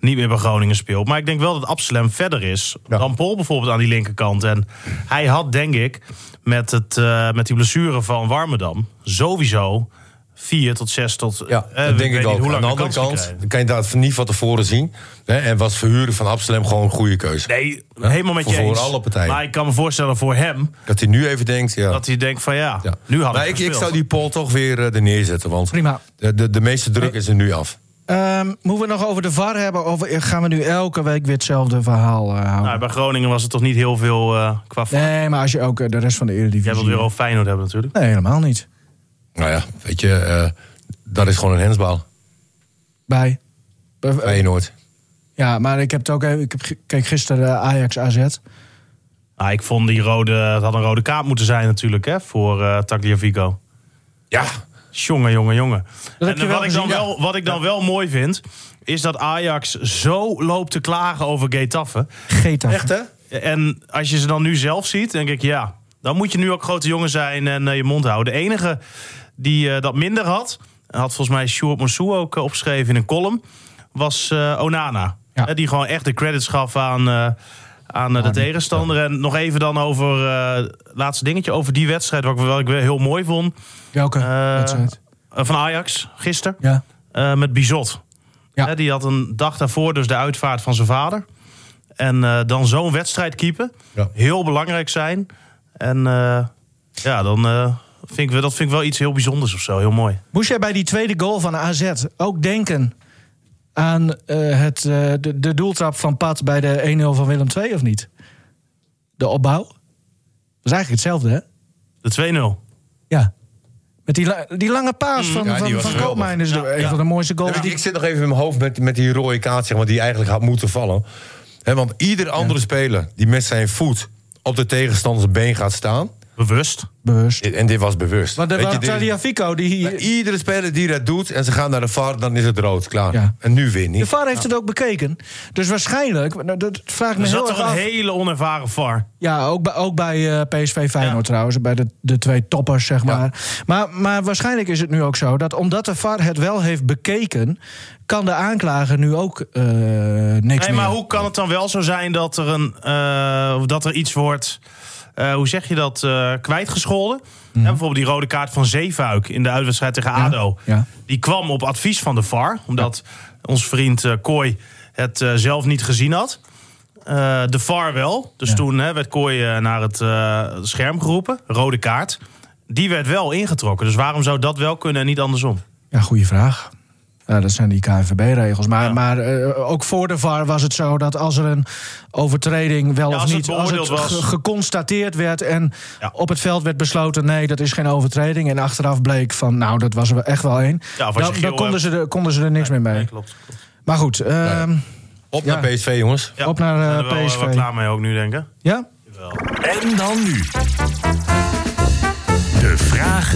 niet meer bij Groningen speelt. Maar ik denk wel dat Absalem verder is
Ja.
dan Pol bijvoorbeeld aan die linkerkant. En hij had, denk ik, met, het, eh, met die blessure van Warmerdam... sowieso vier tot zes tot...
Ja,
eh,
dat denk
ik weet
ik
niet
ook.
hoe lang
Aan de andere
kans
kant
gekregen.
dan kan je dat niet van tevoren zien. Hè, en was verhuren van Amsterdam gewoon een goede keuze.
Nee, helemaal met
Voor-
je
voor
eens.
alle partijen.
Maar ik kan me voorstellen voor hem
Dat hij nu even denkt, ja.
dat hij denkt van ja,
ja.
nu had
maar
ik,
ik, ik
gespeeld.
zou die poll toch weer eh, er neerzetten. Want
Prima.
De, de, de meeste druk is er nu af.
Ehm, moeten we het nog over de VAR hebben? Of gaan we nu elke week weer hetzelfde verhaal eh, houden?
Nou, bij Groningen was het toch niet heel veel eh qua. Nee,
nee, maar als je ook eh, de rest van de Eredivisie...
Jij wilt weer over Feyenoord hebben natuurlijk.
Nee, helemaal niet.
Nou ja, weet je, eh, dat is gewoon een hensbal.
Bij. Bij-
Bij nooit.
Ja, maar ik heb het ook even. Ik heb, ge- keek gisteren eh, Ajax AZ.
Nou, ik vond die rode, het had een rode kaart moeten zijn natuurlijk hè, voor eh Tagliafico.
Ja,
Jongen, jongen, jongen.
heb je
en
wel
wat ik, dan
gezien, ja.
wel, wat ik dan wel mooi vind, is dat Ajax zo loopt te klagen over Getafe.
Geta.
echt hè?
En als je ze dan nu zelf ziet, denk ik ja. Dan moet je nu ook grote jongen zijn en eh, je mond houden. De enige die eh, dat minder had, en had volgens mij Sjoerd Monsou ook eh, opgeschreven in een column, was eh, Onana.
Ja.
Eh, die gewoon echt de credits gaf aan, eh, aan eh, de tegenstander. En nog even dan over eh, het laatste dingetje, over die wedstrijd, wat ik wel ik wel heel mooi vond.
Welke
Eh,
wedstrijd?
eh, van Ajax, gisteren,
Ja.
eh, met Bizot.
Ja.
Eh, die had een dag daarvoor dus de uitvaart van zijn vader. En eh, dan zo'n wedstrijd keeper
Ja.
heel belangrijk zijn. En eh, ja, dan eh, Vind ik, wel- dat vind ik wel iets heel bijzonders of zo. Heel mooi.
Moest jij bij die tweede goal van AZ ook denken aan eh, het, eh, de, de doeltrap van Pat bij de 1-0 van Willem II of niet? De opbouw? Dat is eigenlijk hetzelfde, hè?
De 2-0.
Ja. Met die, la- die lange paas van,
Mm, ja, die
van,
was
van
geweldig.
Koopmijn is de-
Ja,
een
ja.
van de mooiste
Ja,
goals.
maar
die
ik zit nog even in mijn hoofd met, met die rode kaart, zeg maar, die eigenlijk had moeten vallen. Hè, want ieder andere speler die met zijn voet op de tegenstander's been gaat staan.
Bewust.
bewust.
En dit was bewust.
Want er
Weet je,
was
dit-
Taliafico die
bij
hier...
iedere speler die dat doet en ze gaan naar de VAR, dan is het rood, klaar.
Ja.
En nu weer
De
niet.
VAR heeft het ook bekeken. Dus waarschijnlijk, nou, dat vraag ik me
Er
heel
zat
erg
toch een
af.
hele onervaren VAR.
Ja, ook bij, ook bij eh, PSV Feyenoord trouwens. Bij de, de twee toppers, zeg maar. maar. Maar waarschijnlijk is het nu ook zo dat omdat de VAR het wel heeft bekeken... kan de aanklager nu ook eh, niks
Nee,
meer.
maar hoe kan het dan wel zo zijn dat er, een, eh, of dat er iets wordt, eh, hoe zeg je dat, eh, kwijtgescholden? En bijvoorbeeld die rode kaart van Zeefuik in de uitwedstrijd tegen ADO.
Mhm. ja.
Die kwam op advies van de VAR, omdat ons vriend eh Kooi het eh, zelf niet gezien had. Eh, de VAR wel. Dus
Ja.
toen hè, werd Kooi eh, naar het eh, scherm geroepen, rode kaart. Die werd wel ingetrokken. Dus waarom zou dat wel kunnen en niet andersom?
Ja, goede vraag. Ja, dat zijn die KNVB-regels. Maar,
Ja.
maar eh, ook voor de VAR was het zo dat als er een overtreding wel
Ja,
of
als het
niet... als het
beoordeeld was.
ge- geconstateerd werd en
Ja.
op het veld werd besloten... nee, dat is geen overtreding. En achteraf bleek van, nou, dat was er echt wel één.
Ja, of als
dan
je geel
dan konden,
hebt.
ze er, konden ze er niks meer mee.
Nee, klopt. klopt.
Maar goed, ehm,
Op
Ja.
naar PSV, jongens.
Ja,
Op naar,
we zijn
eh,
er wel, eh,
PSV.
wel klaar mee ook nu, denk ik.
ja?
En dan nu. De vraag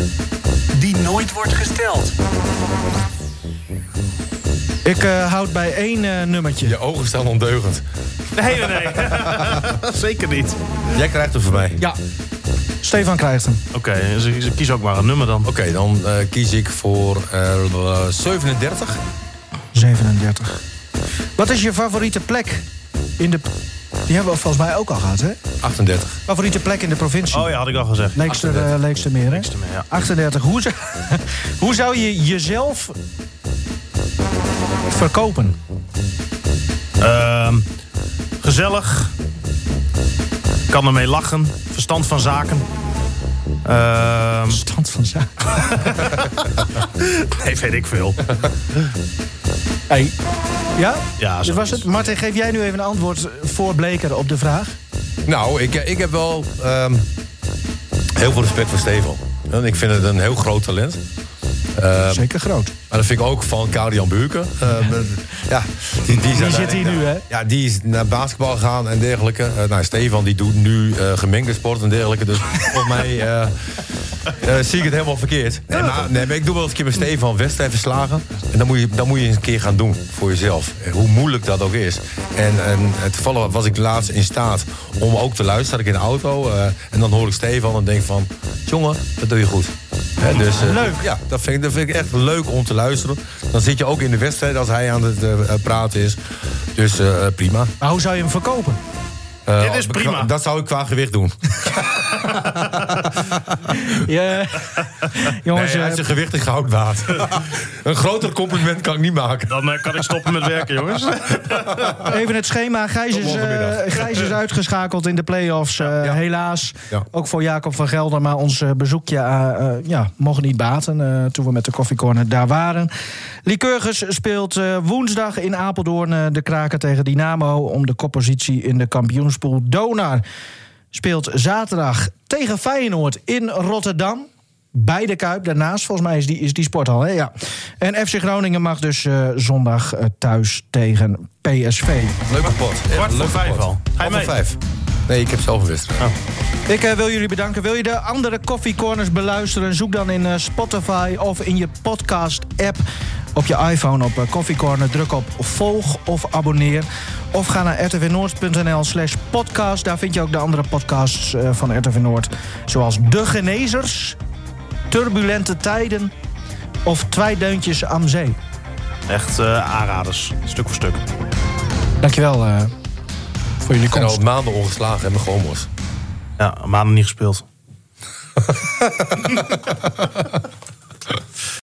die nooit wordt gesteld.
Ik eh, houd bij één eh, nummertje.
Je ogen staan ondeugend.
Nee, nee, nee. *laughs* Zeker niet.
Jij krijgt hem van mij.
Ja. Stefan krijgt hem.
Oké, dus ik- ik kies ook maar een nummer dan.
Oké, dan eh, kies ik voor eh, 37.
37. Wat is je favoriete plek in de... Die hebben we volgens mij ook al gehad, hè?
38.
Favoriete plek in de provincie?
Oh ja, had ik al gezegd.
Leekster, eh, Leekstermeer, hè?
Leekstermeer, ja.
38. Hoe zou, *laughs* hoe zou je jezelf verkopen?
Ehm, gezellig. Kan ermee lachen. Verstand van zaken. Ehm,
Stand van zaken.
nee, weet ik veel.
Hey. Ja?
Ja,
Dit was
zoiets.
het. Martin, geef jij nu even een antwoord voor Bleker op de vraag.
Nou, ik, ik heb wel ehm, heel veel respect voor Steven. En Ik vind het een heel groot talent.
Zeker groot.
Maar dat vind ik ook van Karian Buurken. Ehm, ja, die, die, zijn-
zit hier nu, hè?
Ja, die is naar basketbal gegaan en dergelijke. Eh, nou, Stefan die doet nu eh, gemengde sport en dergelijke.
*laughs*
Dus volgens mij eh, eh, zie ik het helemaal verkeerd. Nee, maar, nee, maar ik doe wel eens een keer met Stefan wedstrijd verslagen. En dan moet, je, dan moet je eens een keer gaan doen voor jezelf. Eh, Hoe moeilijk dat ook is. En, en eh, toevallig was ik laatst in staat om ook te luisteren. Zat ik in de auto eh, en dan hoor ik Stefan en denk van... Jongen, dat doe je goed. Hè, dus, eh,
Leuk.
ja, dat vind, ik, dat vind ik echt leuk om te luisteren. Dan zit je ook in de wedstrijd als hij aan het eh, praten is. Dus eh, prima.
Maar hoe zou je hem verkopen?
Eh,
Dit is prima.
Dat zou ik qua gewicht doen.
Ja. *laughs* Jongens,
Nee, hij
eh,
is een gewicht in goud waard. *laughs* een groter compliment kan ik niet maken.
Dan eh, kan ik stoppen met werken, jongens.
even het schema. Gijs
Tot
is, eh,
*laughs* morgenmiddag.
Gijs is uitgeschakeld in de play-offs, eh, helaas.
Ja.
Ook voor Jacob van Gelder. Maar ons eh, bezoekje eh, eh, ja, mocht niet baten eh, toen we met de koffiecorner daar waren. Lycurgus speelt eh, woensdag in Apeldoorn eh, de kraken tegen Dynamo... om de koppositie in de kampioenspool. Donar speelt zaterdag tegen Feyenoord in Rotterdam... Bij de Kuip daarnaast, volgens mij is die, is die sporthal. Hè? Ja. En FC Groningen mag dus eh, zondag eh, thuis tegen PSV.
Leuke pot. Echt
Kwart voor
leuke
vijf
pot.
al. Ga je
Kwart voor
mee? Oh,
vijf. Nee, ik heb zelf een wedstrijd.
Ik eh, wil jullie bedanken. Wil je de andere Coffee Corners beluisteren? Zoek dan in eh, Spotify of in je podcast-app op je iPhone op eh, Coffee Corner. Druk op volg of abonneer. Of ga naar rtvnoord.nl slash podcast. Daar vind je ook de andere podcasts eh, van RTV Noord. Zoals De Genezers, Turbulente Tijden of Twijdeuntjes am Zee.
*laughs* Echt eh, aanraders. Stuk voor stuk.
Dankjewel eh voor jullie
Ik ben
komst.
al maanden ongeslagen en mijn gomos.
Ja, maanden niet gespeeld.